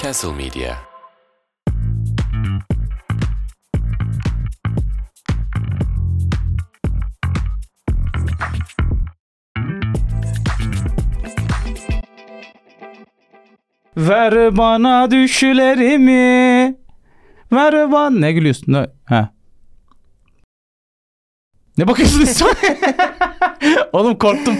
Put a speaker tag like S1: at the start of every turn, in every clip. S1: Castle Media.
S2: Ver bana düşlerimi. Ver bana. Ne gülüyorsun? Ne? Ha. Ne bakıyorsunuz? sen? Oğlum korktum.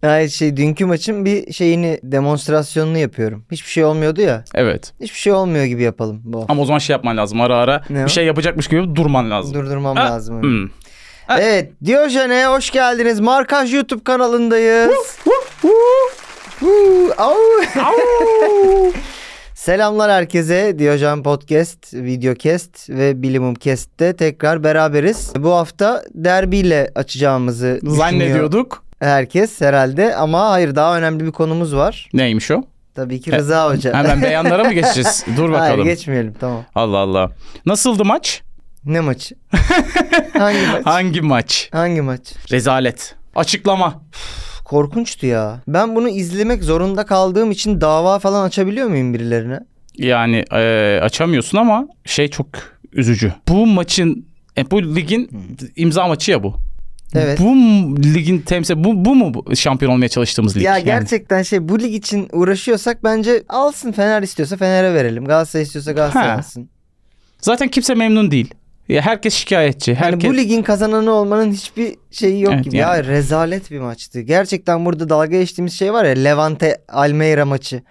S3: Hayır şey dünkü maçın bir şeyini demonstrasyonunu yapıyorum. Hiçbir şey olmuyordu ya.
S2: Evet.
S3: Hiçbir şey olmuyor gibi yapalım bu.
S2: Ama o zaman şey yapman lazım. Ara ara
S3: Ne o?
S2: bir şey yapacakmış gibi durman lazım.
S3: Durdurmam
S2: Ha,
S3: lazım.
S2: Hmm.
S3: Evet Diyojen'e hoş geldiniz. Markaj YouTube kanalındayız. Huu, au. Selamlar herkese. Diyojen Podcast, Videocast ve Bilimum Cast'te tekrar beraberiz. Bu hafta derbiyle açacağımızı düşünüyor
S2: Zannediyorduk.
S3: herkes herhalde. Ama hayır daha önemli bir konumuz var.
S2: Neymiş o?
S3: Tabii ki Rıza Hoca.
S2: Hemen beyanlara mı geçeceğiz? Dur
S3: Hayır
S2: bakalım.
S3: geçmeyelim tamam.
S2: Allah Allah. Nasıldı maç?
S3: Ne maçı? Hangi maç?
S2: Hangi maç?
S3: Hangi maç?
S2: Rezalet. Açıklama.
S3: Korkunçtu ya. Ben bunu izlemek zorunda kaldığım için dava falan açabiliyor muyum birilerine?
S2: Yani e, açamıyorsun ama şey çok üzücü. Bu maçın e, bu ligin imza maçı ya bu.
S3: Evet.
S2: Bu m- ligin temsil bu bu mu bu şampiyon olmaya çalıştığımız lig?
S3: ya
S2: Yani
S3: gerçekten şey bu lig için uğraşıyorsak bence alsın Fener istiyorsa Fener'e verelim. Galatasaray istiyorsa Galatasaray
S2: Ha,
S3: alsın.
S2: Zaten kimse memnun değil. Ya herkes şikayetçi.
S3: Yani
S2: Herkes
S3: Hani bu ligin kazananı olmanın hiçbir şeyi yok
S2: Evet,
S3: gibi.
S2: yani.
S3: Ya rezalet bir maçtı. Gerçekten burada dalga geçtiğimiz şey var ya Levante Almeyra maçı.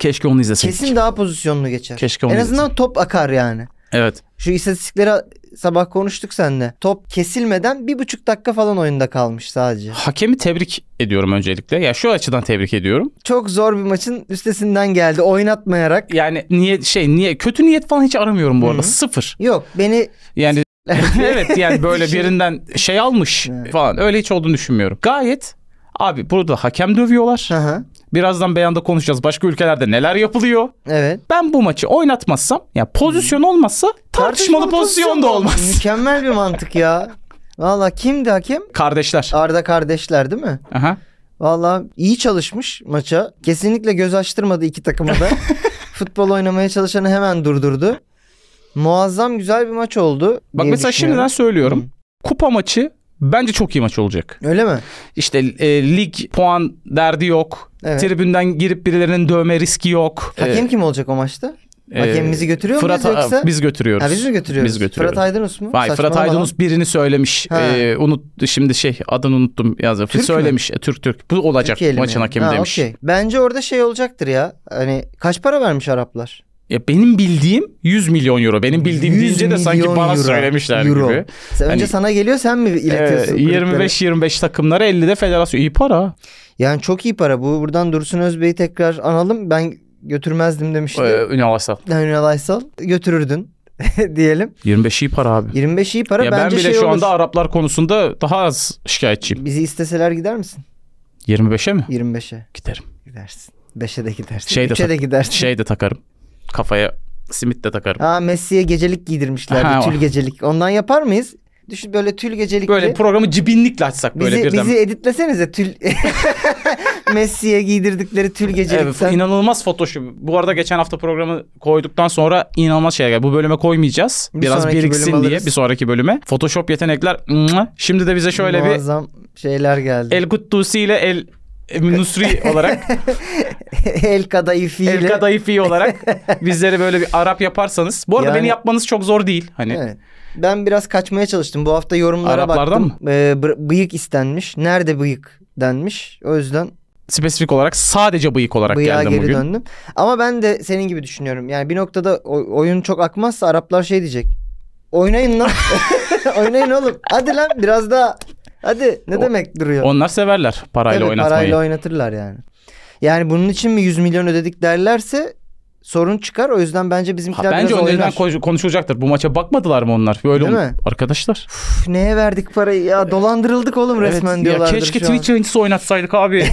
S2: keşke onu izleseydik.
S3: Kesin daha pozisyonlu geçer.
S2: Keşke onu
S3: en azından top akar yani.
S2: Evet.
S3: Şu istatistikleri sabah konuştuk seninle. Top kesilmeden bir buçuk dakika falan oyunda kalmış sadece.
S2: Hakemi tebrik ediyorum öncelikle. Ya şu açıdan tebrik ediyorum.
S3: Çok zor bir maçın üstesinden geldi oynatmayarak.
S2: Yani niye şey niye kötü niyet falan hiç aramıyorum bu arada.
S3: Hı.
S2: Sıfır.
S3: Yok beni
S2: Yani evet yani böyle
S3: Düşün.
S2: birinden şey almış
S3: Evet.
S2: falan öyle hiç olduğunu düşünmüyorum. Gayet abi burada hakem dövüyorlar.
S3: Hı hı.
S2: Birazdan beyanda konuşacağız başka ülkelerde neler yapılıyor.
S3: Evet.
S2: Ben bu maçı oynatmazsam ya pozisyon olmazsa tartışmalı pozisyon da olmaz.
S3: Mükemmel bir mantık ya. Valla kimdi hakem?
S2: Kardeşler.
S3: Arda kardeşler değil mi?
S2: Aha.
S3: Valla iyi çalışmış maça. Kesinlikle göz açtırmadı iki takıma da. Futbol oynamaya çalışanı hemen durdurdu. Muazzam güzel bir maç oldu.
S2: Bak
S3: diye
S2: mesela
S3: düşünüyorum.
S2: şimdiden söylüyorum. Kupa maçı bence çok iyi maç olacak.
S3: Öyle mi?
S2: İşte e, lig puan derdi yok.
S3: Evet.
S2: Tribünden girip birilerinin dövme riski yok.
S3: Hakem kim olacak o maçta?
S2: Ee,
S3: Hakemimizi götürüyor
S2: Fırat
S3: muyuz yoksa?
S2: biz götürüyoruz.
S3: Ha, biz mi götürüyoruz?
S2: Biz götürüyoruz.
S3: Fırat Aydınus mu?
S2: Vay Fırat
S3: Saçmalama lan.
S2: Aydınus birini söylemiş.
S3: Ha.
S2: Ee, unut şimdi şey adını unuttum yazdı.
S3: Türk mü?
S2: söylemiş. E, Türk Türk. Bu olacak
S3: Türkiye'li mi
S2: maçın
S3: yani?
S2: hakemi
S3: Ha,
S2: demiş.
S3: okey. Bence orada şey olacaktır ya. Hani kaç para vermiş Araplar?
S2: Ya benim bildiğim 100 milyon euro. Benim bildiğim
S3: 100
S2: deyince de sanki
S3: milyon
S2: bana
S3: euro.
S2: söylemişler
S3: Euro.
S2: gibi.
S3: Sen önce
S2: Hani-
S3: sana geliyor sen mi iletiyorsun?
S2: Ee,
S3: kulüplere?
S2: 25 25 takımlara 50 de federasyon. İyi para.
S3: Yani çok iyi para. Bu buradan Dursun Özbey'i tekrar analım. Ben götürmezdim demişti.
S2: Ee,
S3: Ee,
S2: Ünal Aslan.
S3: Ünal Aysal götürürdün diyelim.
S2: 25 iyi para abi.
S3: 25 iyi para
S2: ya ben
S3: bence
S2: bile
S3: şey
S2: şu
S3: olur.
S2: anda Araplar konusunda daha az şikayetçiyim.
S3: Bizi isteseler gider misin?
S2: 25'e mi?
S3: 25'e
S2: Giderim.
S3: gidersin. 5'e de gidersin.
S2: Şey de
S3: 3'e de gidersin.
S2: Şey de takarım. Kafaya simit de takarım.
S3: Aa Messi'ye gecelik giydirmişler.
S2: Ha,
S3: tül
S2: o.
S3: gecelik. Ondan yapar mıyız? Düşün böyle tül gecelikli.
S2: Böyle programı cibinlikle açsak böyle
S3: bizi,
S2: birden.
S3: bizi editlesenize tül. Messi'ye giydirdikleri tül
S2: Evet,
S3: gecelikten.
S2: inanılmaz Photoshop. Bu arada geçen hafta programı koyduktan sonra inanılmaz şeyler geldi. Bu bölüme koymayacağız.
S3: Bir
S2: Biraz
S3: sonraki
S2: biriksin
S3: bölüm
S2: diye
S3: alırız.
S2: bir sonraki bölüme. Photoshop yetenekler. mwah. Şimdi de bize şöyle bir
S3: Muazzam şeyler geldi.
S2: El Kuttusi ile El e, Nusri olarak
S3: El Kadayıfi ile.
S2: El Kadayıfi olarak bizleri böyle bir Arap yaparsanız. Bu arada
S3: Yani-
S2: beni yapmanız çok zor değil. Hani
S3: Evet. Ben biraz kaçmaya çalıştım. Bu hafta yorumlara
S2: Araplardan
S3: baktım. Ee, bı- bıyık istenmiş. Nerede bıyık denmiş. O yüzden
S2: spesifik olarak sadece bıyık olarak
S3: bıyığa
S2: geldim
S3: geri
S2: bugün.
S3: döndüm. Ama ben de senin gibi düşünüyorum. Yani bir noktada o- oyun çok akmazsa Araplar şey diyecek. Oynayın lan. Oynayın oğlum. Hadi lan biraz daha. Hadi ne
S2: O-
S3: demek duruyor.
S2: Onlar severler parayla
S3: Tabii,
S2: oynatmayı.
S3: parayla oynatırlar yani. Yani bunun için mi 100 milyon ödedik derlerse sorun çıkar. O yüzden bence
S2: Ha,
S3: bizimkiler
S2: bence
S3: biraz
S2: önceden
S3: oynar.
S2: ko- konuşulacaktır. Bu maça bakmadılar mı onlar? Böyle
S3: Değil
S2: ol-
S3: mi?
S2: arkadaşlar.
S3: Üf, neye verdik parayı ya dolandırıldık oğlum
S2: Evet,
S3: resmen
S2: ya
S3: diyorlardır
S2: Keşke
S3: şu an.
S2: Twitch yayıncısı oynatsaydık abi.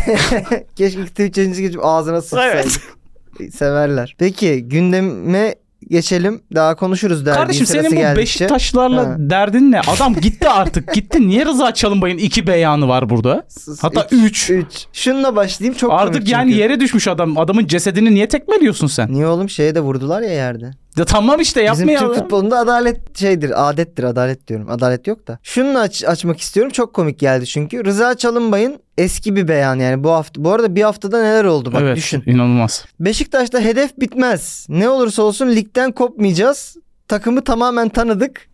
S3: Keşke Twitch yayıncısı geçip ağzına sıçsaydı.
S2: Evet.
S3: Severler. Peki gündeme geçelim. Daha konuşuruz derbi
S2: Kardeşim
S3: sırası
S2: senin bu
S3: geldikçe.
S2: Beşiktaşlarla
S3: Ha.
S2: derdin ne? Adam gitti artık. gitti. Niye Rıza Çalınbay'ın iki beyanı var burada?
S3: Sus,
S2: Hatta 3.
S3: üç- üç. Şununla başlayayım çok
S2: Artık
S3: komik
S2: yani
S3: çünkü.
S2: yere düşmüş adam. Adamın cesedini niye tekmeliyorsun sen?
S3: Niye oğlum şeye de vurdular ya yerde.
S2: Ya tamam işte
S3: Bizim Türk
S2: yapmayalım.
S3: futbolunda adalet şeydir, adettir, adalet diyorum. Adalet yok da. Şunu aç- açmak istiyorum. Çok komik geldi çünkü. Rıza Çalınbay'ın eski bir beyan yani bu hafta. Bu arada bir haftada neler oldu bak
S2: evet
S3: düşün.
S2: inanılmaz.
S3: Beşiktaş'ta hedef bitmez. Ne olursa olsun ligden kopmayacağız. Takımı tamamen tanıdık.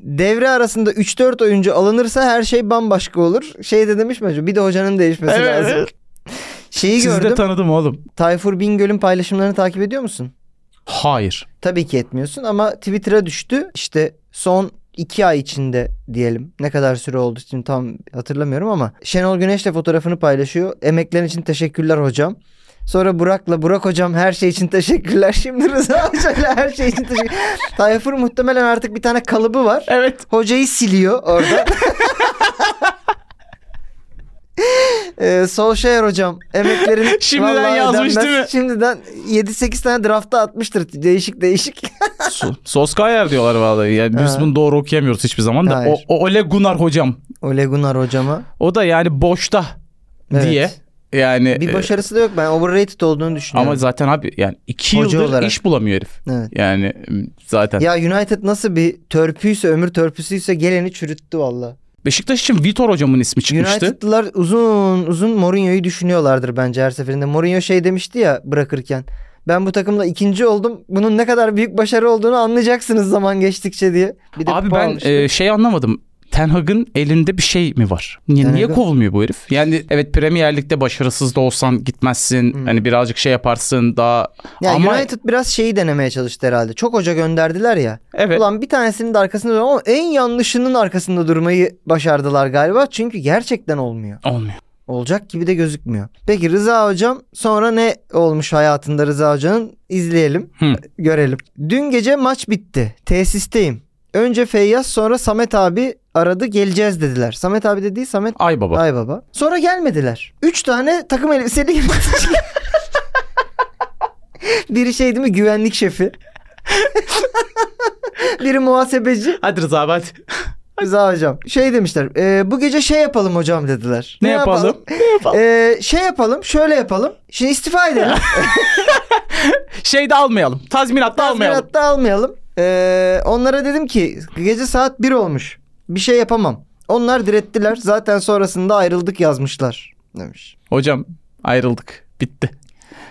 S3: Devre arasında 3-4 oyuncu alınırsa her şey bambaşka olur. Şey de demiş mi acaba? Bir de hocanın değişmesi
S2: Evet,
S3: lazım.
S2: evet.
S3: Şeyi
S2: Sizi de
S3: gördüm.
S2: tanıdım oğlum.
S3: Tayfur Bingöl'ün paylaşımlarını takip ediyor musun?
S2: Hayır.
S3: Tabii ki etmiyorsun ama Twitter'a düştü. İşte son iki ay içinde diyelim. Ne kadar süre oldu şimdi tam hatırlamıyorum ama. Şenol Güneş'le fotoğrafını paylaşıyor. Emeklerin için teşekkürler hocam. Sonra Burak'la Burak hocam her şey için teşekkürler. Şimdi Rıza hocayla her şey için teşekkür. Tayfur muhtemelen artık bir tane kalıbı var.
S2: Evet.
S3: Hocayı siliyor orada. ee, Solskjaer hocam emeklerin
S2: Şimdiden
S3: vallahi
S2: yazmış
S3: ödenmez.
S2: değil mi?
S3: Şimdiden 7-8 tane drafta atmıştır değişik değişik.
S2: So- Soskayer diyorlar vallahi. Yani biz
S3: Ha.
S2: bunu doğru okuyamıyoruz hiçbir zaman da.
S3: Hayır.
S2: O, o Ole Gunnar hocam.
S3: Ole Gunnar hocama.
S2: O da yani boşta
S3: Evet.
S2: diye. Yani
S3: Bir
S2: e,
S3: başarısı da yok. Ben overrated olduğunu düşünüyorum.
S2: ama zaten abi yani iki
S3: Hoca
S2: yıldır
S3: olarak.
S2: iş bulamıyor herif.
S3: Evet.
S2: Yani m, zaten.
S3: Ya United nasıl bir törpüyse ömür törpüsüyse geleni çürüttü valla.
S2: Beşiktaş için Vitor hocamın ismi çıkmıştı.
S3: United'lılar uzun uzun Mourinho'yu düşünüyorlardır bence her seferinde. Mourinho şey demişti ya bırakırken. Ben bu takımla ikinci oldum. Bunun ne kadar büyük başarı olduğunu anlayacaksınız zaman geçtikçe diye. Bir de
S2: Abi
S3: kupa
S2: ben
S3: almıştı.
S2: e, şey anlamadım. Ten Hag'ın elinde bir şey mi var? Niye,
S3: Ten
S2: niye
S3: Hag'ın-
S2: kovulmuyor bu herif? Yani evet Premier Lig'de başarısız da olsan gitmezsin.
S3: Hmm.
S2: Hani birazcık şey yaparsın daha.
S3: Ya
S2: ama
S3: United biraz şeyi denemeye çalıştı herhalde. Çok hoca gönderdiler ya.
S2: evet.
S3: Ulan bir tanesinin de arkasında dur- ama en yanlışının arkasında durmayı başardılar galiba. Çünkü gerçekten olmuyor.
S2: Olmuyor.
S3: Olacak gibi de gözükmüyor. Peki Rıza Hocam sonra ne olmuş hayatında Rıza Hoca'nın? İzleyelim,
S2: Hı.
S3: görelim. Dün gece maç bitti. Tesisteyim. Önce Feyyaz sonra Samet abi aradı geleceğiz dediler. Samet abi de değil Samet
S2: Ay baba.
S3: ay baba. Sonra gelmediler. Üç tane takım elbiseli yönetici. Biri şey değil mi güvenlik şefi. Biri muhasebeci.
S2: Hadi Rıza abi hadi.
S3: Rıza hocam. Şey demişler. "Ee, bu gece şey yapalım hocam dediler.
S2: Ne yapalım?
S3: Ee, şey yapalım. Şöyle yapalım. Şimdi istifa edelim.
S2: Şey de almayalım. Tazminat da almayalım.
S3: Tazminat da almayalım. Ee, onlara dedim ki gece saat 1 olmuş. Bir şey yapamam. Onlar direttiler. Zaten sonrasında ayrıldık yazmışlar demiş.
S2: Hocam ayrıldık. Bitti.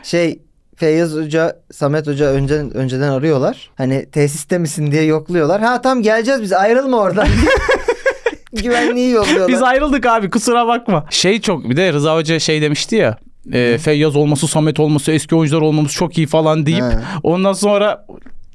S3: Şey Feyyaz Hoca, Samet Hoca önceden, önceden arıyorlar. Hani tesiste misin diye yokluyorlar. Ha tam geleceğiz biz ayrılma oradan. Güvenliği yolluyorlar.
S2: Biz ayrıldık abi kusura bakma. Şey çok bir de Rıza Hoca şey demişti ya. e, Feyyaz olması, Samet olması, eski oyuncular olmamız çok iyi falan deyip
S3: He.
S2: ondan sonra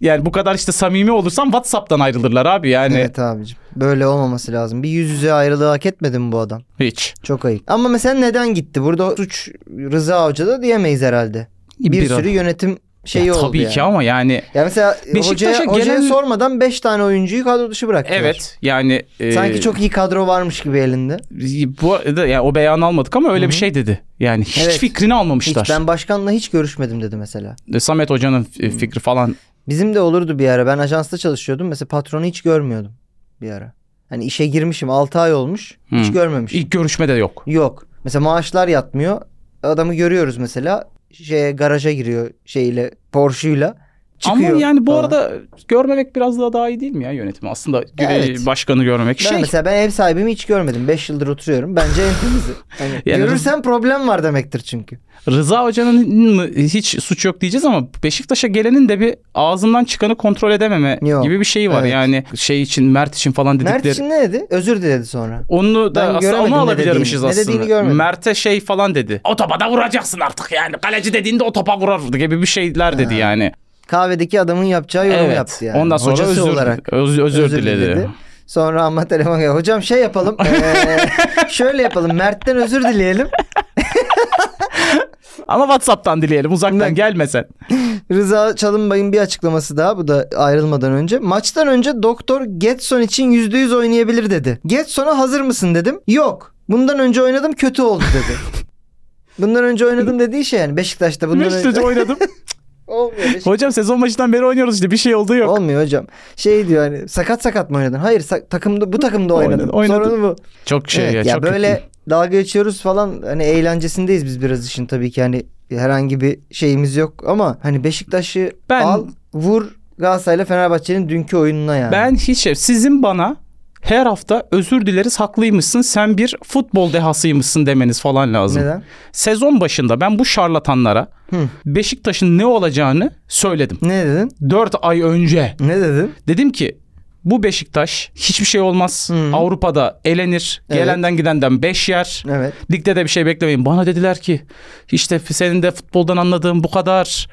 S2: yani bu kadar işte samimi olursam WhatsApp'tan ayrılırlar abi yani
S3: Evet abicim. Böyle olmaması lazım. Bir yüz yüze ayrılığı hak etmedi mi bu adam?
S2: hiç.
S3: Çok ayıp. Ama mesela neden gitti? Burada suç Rıza Hoca da diyemeyiz herhalde. Bir, sürü yönetim şeyi
S2: Ya
S3: oldu
S2: tabii
S3: yani.
S2: ki ama yani
S3: Ya mesela hocaya,
S2: Beşiktaş'a
S3: hocaya
S2: genel-
S3: sormadan 5 tane oyuncuyu kadro dışı bıraktılar.
S2: evet yani e,
S3: Sanki çok iyi kadro varmış gibi elinde.
S2: bu arada yani o beyanı almadık ama öyle bir şey dedi. Yani hiç
S3: Evet.
S2: fikrini
S3: Hiç,
S2: almamışlar.
S3: ben başkanla hiç görüşmedim dedi mesela.
S2: Samet Hoca'nın e, fikri falan
S3: Bizim de olurdu bir ara. Ben ajansta çalışıyordum. Mesela patronu hiç görmüyordum bir ara. Hani işe girmişim 6 ay olmuş. Hiç
S2: Hmm.
S3: görmemişim.
S2: ilk görüşmede yok.
S3: Yok. Mesela maaşlar yatmıyor. Adamı görüyoruz mesela. Şeye garaja giriyor şeyle Porsche'uyla. Çıkıyor.
S2: Ama yani bu
S3: falan.
S2: arada görmemek biraz daha daha iyi değil mi ya yönetimi? Aslında gö-
S3: Evet.
S2: başkanı görmemek
S3: ben
S2: şey.
S3: mesela ben ev sahibimi hiç görmedim. 5 yıldır oturuyorum. Bence en temizi. Hani
S2: Yani-
S3: görürsen problem var demektir çünkü.
S2: Rıza Hoca'nın mı- hiç suç yok diyeceğiz ama Beşiktaş'a gelenin de bir ağzından çıkanı kontrol edememe
S3: Yok.
S2: gibi bir şey var.
S3: Evet.
S2: Yani şey için Mert için falan
S3: Mert
S2: dedikleri.
S3: için ne dedi? Özür diledi sonra.
S2: Onu
S3: Ben
S2: da aslında
S3: göremedim
S2: onu
S3: ne
S2: alabilirmişiz
S3: dediğini. Ne dediğini
S2: aslında.
S3: görmedim.
S2: Mert'e şey falan dedi. O topa da vuracaksın artık yani. Kaleci dediğinde o topa vurar gibi bir şeyler dedi yani.
S3: Kahvedeki adamın yapacağı yorum
S2: evet.
S3: yaptı yani.
S2: Ondan sonra
S3: Hocası
S2: özür,
S3: olarak.
S2: öz- özür, diledi.
S3: Sonra ama telefon geldi. Hocam şey yapalım. eee, şöyle yapalım. Mert'ten özür dileyelim.
S2: Ama WhatsApp'tan dileyelim uzaktan
S3: Ben-
S2: gelmesen.
S3: Rıza Çalınbay'ın bir açıklaması daha bu da ayrılmadan önce. Maçtan önce doktor Getson için %100 oynayabilir dedi. Getson'a hazır mısın dedim. Yok. Bundan önce oynadım kötü oldu dedi. Bundan önce oynadım dediği şey yani Beşiktaş'ta bundan
S2: Beşiktaş'ta
S3: önce
S2: oynadım.
S3: Olmuyor. Beşiktaş-
S2: Hocam sezon başından beri oynuyoruz işte bir şey olduğu yok.
S3: Olmuyor hocam. Şey diyor hani sakat sakat mı oynadın? Hayır sak- takımda bu takımda
S2: Oynadı,
S3: oynadım.
S2: oynadı.
S3: Sorunu bu.
S2: Çok şey
S3: Evet,
S2: ya,
S3: ya,
S2: çok
S3: böyle
S2: kötü.
S3: dalga geçiyoruz falan hani eğlencesindeyiz biz biraz işin tabii ki hani herhangi bir şeyimiz yok ama hani Beşiktaş'ı
S2: Ben-
S3: al vur Galatasaray'la Fenerbahçe'nin dünkü oyununa yani.
S2: Ben hiç şey- sizin bana her hafta özür dileriz haklıymışsın sen bir futbol dehasıymışsın demeniz falan lazım.
S3: neden?
S2: Sezon başında ben bu şarlatanlara
S3: Hı.
S2: Beşiktaş'ın ne olacağını söyledim.
S3: Ne dedin?
S2: 4 ay önce
S3: Ne dedin?
S2: dedim ki bu Beşiktaş hiçbir şey olmaz.
S3: Hı.
S2: Avrupa'da elenir.
S3: Evet.
S2: Gelenden gidenden 5 yer.
S3: Evet.
S2: Ligde de bir şey beklemeyin. Bana dediler ki işte senin de futboldan anladığın bu kadar.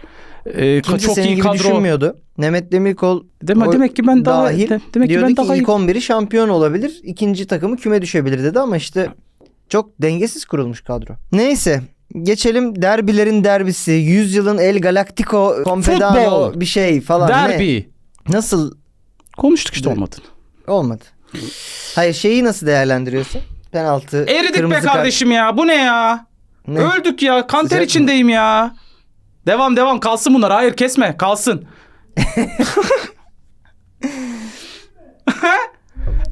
S2: Ee,
S3: Kimse
S2: çok
S3: senin
S2: iyi
S3: gibi
S2: kadro.
S3: düşünmüyordu. Mehmet Demirkol
S2: Deme,
S3: o-
S2: demek ki ben daha
S3: dahil
S2: de- demek ki
S3: diyordu
S2: ben
S3: ki
S2: daha iyi.
S3: ilk 11'i şampiyon olabilir. ikinci takımı küme düşebilir dedi ama işte çok dengesiz kurulmuş kadro. Neyse geçelim derbilerin derbisi. Yüzyılın El Galactico Confedano
S2: Futbol.
S3: bir şey falan. ne?
S2: Derbi.
S3: Nasıl
S2: Konuştuk işte
S3: Evet.
S2: olmadın.
S3: olmadı? Hayır şeyi nasıl değerlendiriyorsun? Penaltı,
S2: Eridik
S3: kırmızı
S2: be
S3: kart.
S2: kardeşim ya. Bu ne ya?
S3: Ne?
S2: Öldük ya. Kanter
S3: Sıcak mı?
S2: içindeyim ya. Devam devam kalsın bunlar. Hayır kesme. Kalsın.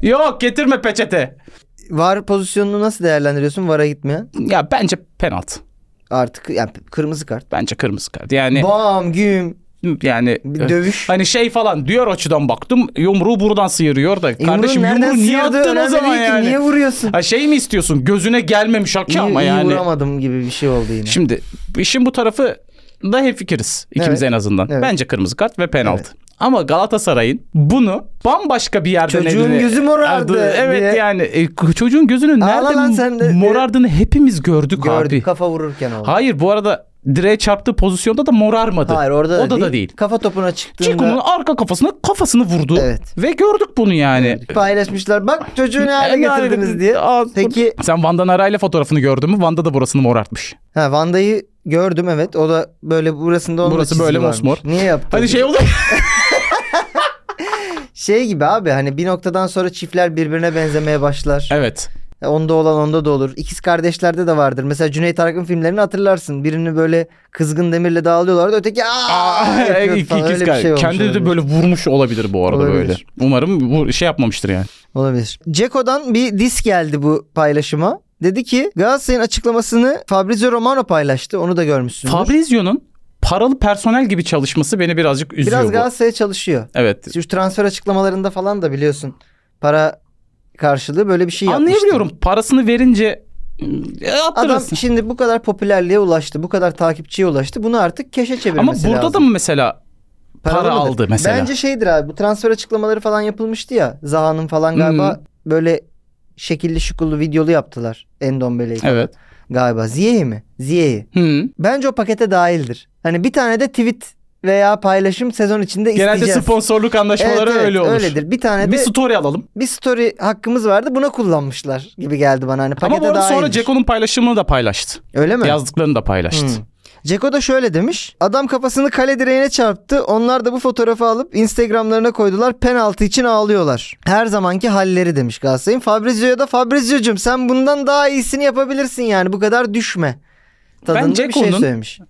S2: Yok getirme peçete.
S3: Var pozisyonunu nasıl değerlendiriyorsun? Vara gitmeyen
S2: Ya bence penaltı.
S3: artık yani kırmızı kart.
S2: Bence kırmızı kart. Yani
S3: Bam güm
S2: yani
S3: bir dövüş.
S2: hani şey falan diyor açıdan baktım. Yumruğu buradan sıyırıyor da.
S3: E, yumruğu
S2: kardeşim
S3: nereden
S2: yumruğu niye
S3: sıyırdı?
S2: attın o
S3: Önemli
S2: zaman
S3: değil ki.
S2: yani?
S3: Niye vuruyorsun?
S2: Ha şey mi istiyorsun? Gözüne gelmemiş
S3: İyi,
S2: hakem ama
S3: iyi
S2: yani.
S3: vuramadım gibi bir şey oldu yine.
S2: Şimdi işin bu tarafı da hemfikiriz ikimiz
S3: Evet.
S2: en azından.
S3: Evet.
S2: Bence kırmızı kart ve penaltı.
S3: Evet.
S2: Ama Galatasaray'ın bunu bambaşka bir yerden
S3: Çocuğun
S2: eline-
S3: gözü morardı
S2: aldığı- Evet
S3: diye.
S2: yani e, çocuğun gözünün
S3: Ağla
S2: nerede
S3: lan sen de-
S2: morardığını hepimiz gördük,
S3: Gördük
S2: abi.
S3: kafa vururken oldu.
S2: Hayır bu arada direğe çarptığı pozisyonda da morarmadı.
S3: Hayır orada da,
S2: o da
S3: değil.
S2: da değil.
S3: Kafa topuna çıktığında
S2: Çiku'nun arka kafasına kafasını vurdu.
S3: Evet.
S2: Ve gördük bunu yani.
S3: paylaşmışlar. Bak çocuğu ne hale
S2: E, yani-
S3: getirdiniz diye.
S2: Aa,
S3: Peki
S2: Sen Van Danaray'la fotoğrafını gördün mü? Van'da da burasını morartmış.
S3: ha Vanda'yı gördüm evet. O da böyle burasında onun da
S2: Burası
S3: çizgi
S2: böyle
S3: varmış.
S2: mosmor.
S3: Niye yaptı?
S2: Hani şey oldu.
S3: Şey gibi abi hani bir noktadan sonra çiftler birbirine benzemeye başlar.
S2: evet.
S3: E, Onda olan onda da olur. İkiz kardeşlerde de vardır. Mesela Cüneyt Arkın filmlerini hatırlarsın. Birini böyle kızgın demirle dağılıyorlardı. Öteki aa
S2: Aa,
S3: yapıyordu
S2: iki-
S3: falan.
S2: ikiz
S3: Öyle bir
S2: kar-
S3: şey olmuş
S2: Kendi
S3: olabilir.
S2: de böyle vurmuş olabilir bu arada
S3: Olabilir.
S2: böyle. Umarım bu şey yapmamıştır yani.
S3: Olabilir. Ceko'dan bir dis geldi bu paylaşıma. Dedi ki Galatasaray'ın açıklamasını Fabrizio Romano paylaştı. Onu da görmüşsünüz.
S2: Fabrizio'nun paralı personel gibi çalışması beni birazcık üzüyor
S3: Biraz şey
S2: bu.
S3: Galatasaray'a çalışıyor.
S2: Evet.
S3: Şu transfer açıklamalarında falan da biliyorsun para karşılığı böyle bir şey yapmıştı.
S2: Anlayabiliyorum. Parasını verince e,
S3: Adam
S2: attırırsın.
S3: şimdi bu kadar popülerliğe ulaştı. Bu kadar takipçiye ulaştı. Bunu artık keşe
S2: Ama
S3: çevirmesi
S2: burada
S3: lazım.
S2: da mı mesela para
S3: Paralı mıdır?
S2: aldı mesela?
S3: Bence şeydir abi bu transfer açıklamaları falan yapılmıştı ya. Zaha'nın falan
S2: Hmm.
S3: galiba böyle şekilli şukullu videolu yaptılar. Endombele'yi falan.
S2: evet. Hmm.
S3: Galiba Ziye'yi mi? Ziye'yi.
S2: Hı.
S3: Bence o pakete dahildir. Hani bir tane de tweet veya paylaşım sezon içinde
S2: Genelde
S3: isteyeceğiz.
S2: sponsorluk
S3: Evet,
S2: anlaşmaları
S3: evet,
S2: öyle olur.
S3: Öyledir. Bir tane
S2: Bir
S3: de bir,
S2: story alalım.
S3: story hakkımız vardı. Buna kullanmışlar gibi geldi bana. Hani pakete
S2: Ama bu arada sonra
S3: dahildir.
S2: Ceko'nun paylaşımını da paylaştı.
S3: Öyle mi?
S2: Yazdıklarını da paylaştı.
S3: Hmm. Ceko da şöyle demiş. Adam kafasını kale direğine çarptı. Onlar da bu fotoğrafı alıp Instagramlarına koydular. Penaltı için ağlıyorlar. Her zamanki halleri demiş Galatasaray'ın. Fabrizio'ya da Fabrizio'cum sen bundan daha iyisini yapabilirsin yani. Bu kadar düşme. Tadında bir şey
S2: Dzeko'nun-
S3: söylemiş.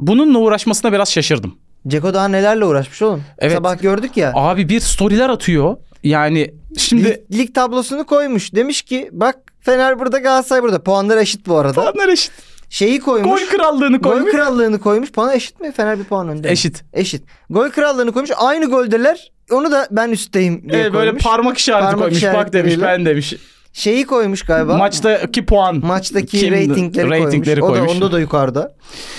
S2: Bununla uğraşmasına biraz şaşırdım.
S3: Ceko daha nelerle uğraşmış oğlum.
S2: Evet.
S3: Sabah gördük ya.
S2: Abi bir storyler atıyor. Yani şimdi
S3: Lig, lig tablosunu koymuş. Demiş ki bak Fener burada Galatasaray burada. Puanlar eşit bu arada.
S2: Puanlar eşit.
S3: Şeyi
S2: Gol
S3: koymuş.
S2: krallığını
S3: Gol,
S2: koymuş.
S3: krallığını koymuş. Puan eşit mi? Fener bir puan önde. mi?
S2: Eşit.
S3: Eşit. Gol krallığını koymuş. Aynı goldeler. Onu da ben üstteyim diye
S2: Ee, böyle
S3: koymuş.
S2: parmak işareti
S3: Parmak
S2: koymuş. Bak demiş
S3: işaretleriyle.
S2: ben demiş.
S3: Şeyi koymuş galiba.
S2: Maçtaki puan.
S3: Maçtaki
S2: Kim-
S3: reytingleri,
S2: ratingleri
S3: koymuş.
S2: koymuş.
S3: O da onda da yukarıda.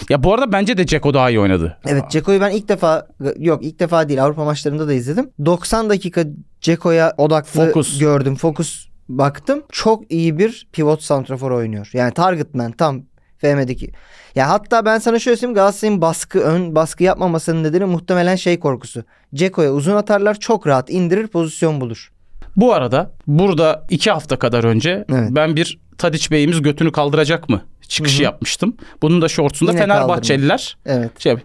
S2: Ya bu arada bence de Ceko daha iyi oynadı.
S3: Evet Ceko'yu ben ilk defa yok ilk defa değil Avrupa maçlarında da izledim. 90 dakika Ceko'ya odaklı
S2: Fokus.
S3: gördüm. Fokus baktım. Çok iyi bir pivot santrafor oynuyor. Yani target man tam FM'deki. Ya hatta ben sana şöyle söyleyeyim Galatasaray'ın baskı ön baskı yapmamasının nedeni muhtemelen şey korkusu. Ceko'ya uzun atarlar çok rahat indirir pozisyon bulur.
S2: Bu arada burada iki hafta kadar önce
S3: Evet.
S2: ben bir Tadiç Bey'imiz götünü kaldıracak mı çıkışı
S3: Hı hı.
S2: yapmıştım. Bunun da şortsunda
S3: Yine
S2: Fenerbahçeliler
S3: Evet
S2: şey yap-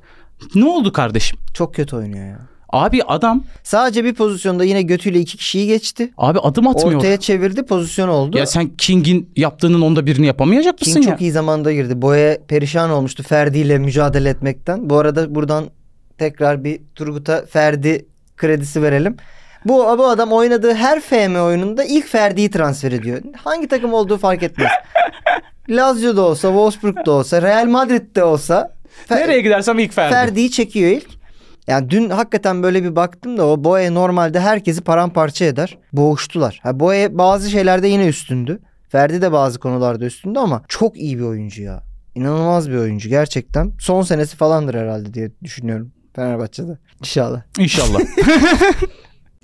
S2: Ne oldu kardeşim?
S3: çok kötü oynuyor ya.
S2: Abi adam
S3: Sadece bir pozisyonda yine götüyle iki kişiyi geçti.
S2: abi adım atmıyor.
S3: Ortaya çevirdi pozisyon oldu.
S2: Ya sen King'in yaptığının onda birini yapamayacak mısın
S3: King
S2: ya?
S3: çok iyi zamanda girdi. Boya perişan olmuştu Ferdi ile mücadele etmekten. Bu arada buradan tekrar bir Turgut'a Ferdi kredisi verelim. Bu, bu adam oynadığı her FM oyununda ilk Ferdi'yi transfer ediyor. Hangi takım olduğu fark etmez. Lazio'da olsa, Wolfsburg'da olsa, Real Madrid'de olsa Fer-
S2: Nereye gidersem ilk Ferdi.
S3: Ferdi'yi çekiyor ilk. Yani dün hakikaten böyle bir baktım da o Boye normalde herkesi paramparça eder. Boğuştular. Ha Boye bazı şeylerde yine üstündü. Ferdi de bazı konularda üstünde ama çok iyi bir oyuncu ya. İnanılmaz bir oyuncu gerçekten. Son senesi falandır herhalde diye düşünüyorum Fenerbahçe'de. İnşallah.
S2: İnşallah.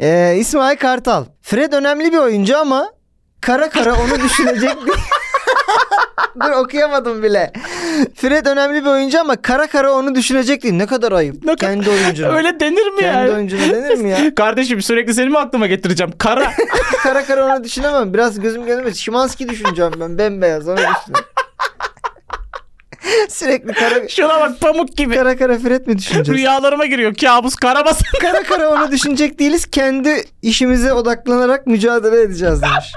S3: Ee, İsmail Kartal. Fred önemli bir oyuncu ama kara kara onu düşünecek bir... Dur okuyamadım bile. Fred önemli bir oyuncu ama kara kara onu düşünecek değil. Ne kadar ayıp.
S2: Ne ka-
S3: Kendi oyuncuna.
S2: Öyle denir mi
S3: Kendi
S2: yani?
S3: oyuncuna denir mi ya?
S2: Kardeşim sürekli seni mi aklıma getireceğim? Kara.
S3: kara kara onu düşünemem. Biraz gözüm gönlüme. Şimanski düşüneceğim ben. Bembeyaz onu düşüneceğim. Sürekli kara,
S2: Şuna bak pamuk gibi.
S3: kara kara Fred mi düşüneceğiz?
S2: Rüyalarıma giriyor. Kabus karabasan.
S3: kara kara onu düşünecek değiliz. Kendi işimize odaklanarak mücadele edeceğiz demiş.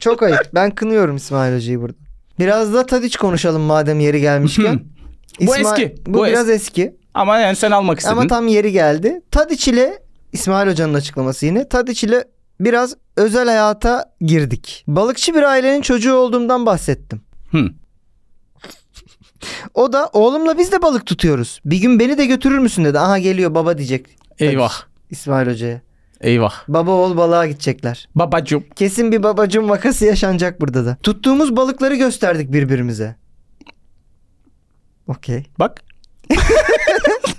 S3: Çok ayıp. Ben kınıyorum İsmail Hoca'yı burada. Biraz da Tadiç konuşalım madem yeri gelmişken.
S2: Bu eski.
S3: Bu,
S2: Bu
S3: biraz eski.
S2: Ama yani sen almak istedin.
S3: Ama tam yeri geldi. Tadiç ile İsmail Hoca'nın açıklaması yine. Tadiç ile biraz özel hayata girdik. Balıkçı bir ailenin çocuğu olduğumdan bahsettim.
S2: Hı.
S3: O da oğlumla biz de balık tutuyoruz. Bir gün beni de götürür müsün dedi. Aha geliyor baba diyecek
S2: Eyvah.
S3: İsmail Hoca'ya.
S2: Eyvah.
S3: Baba oğul balığa gidecekler.
S2: Babacım.
S3: Kesin bir babacım vakası yaşanacak burada da. Tuttuğumuz balıkları gösterdik birbirimize. Okey.
S2: Bak.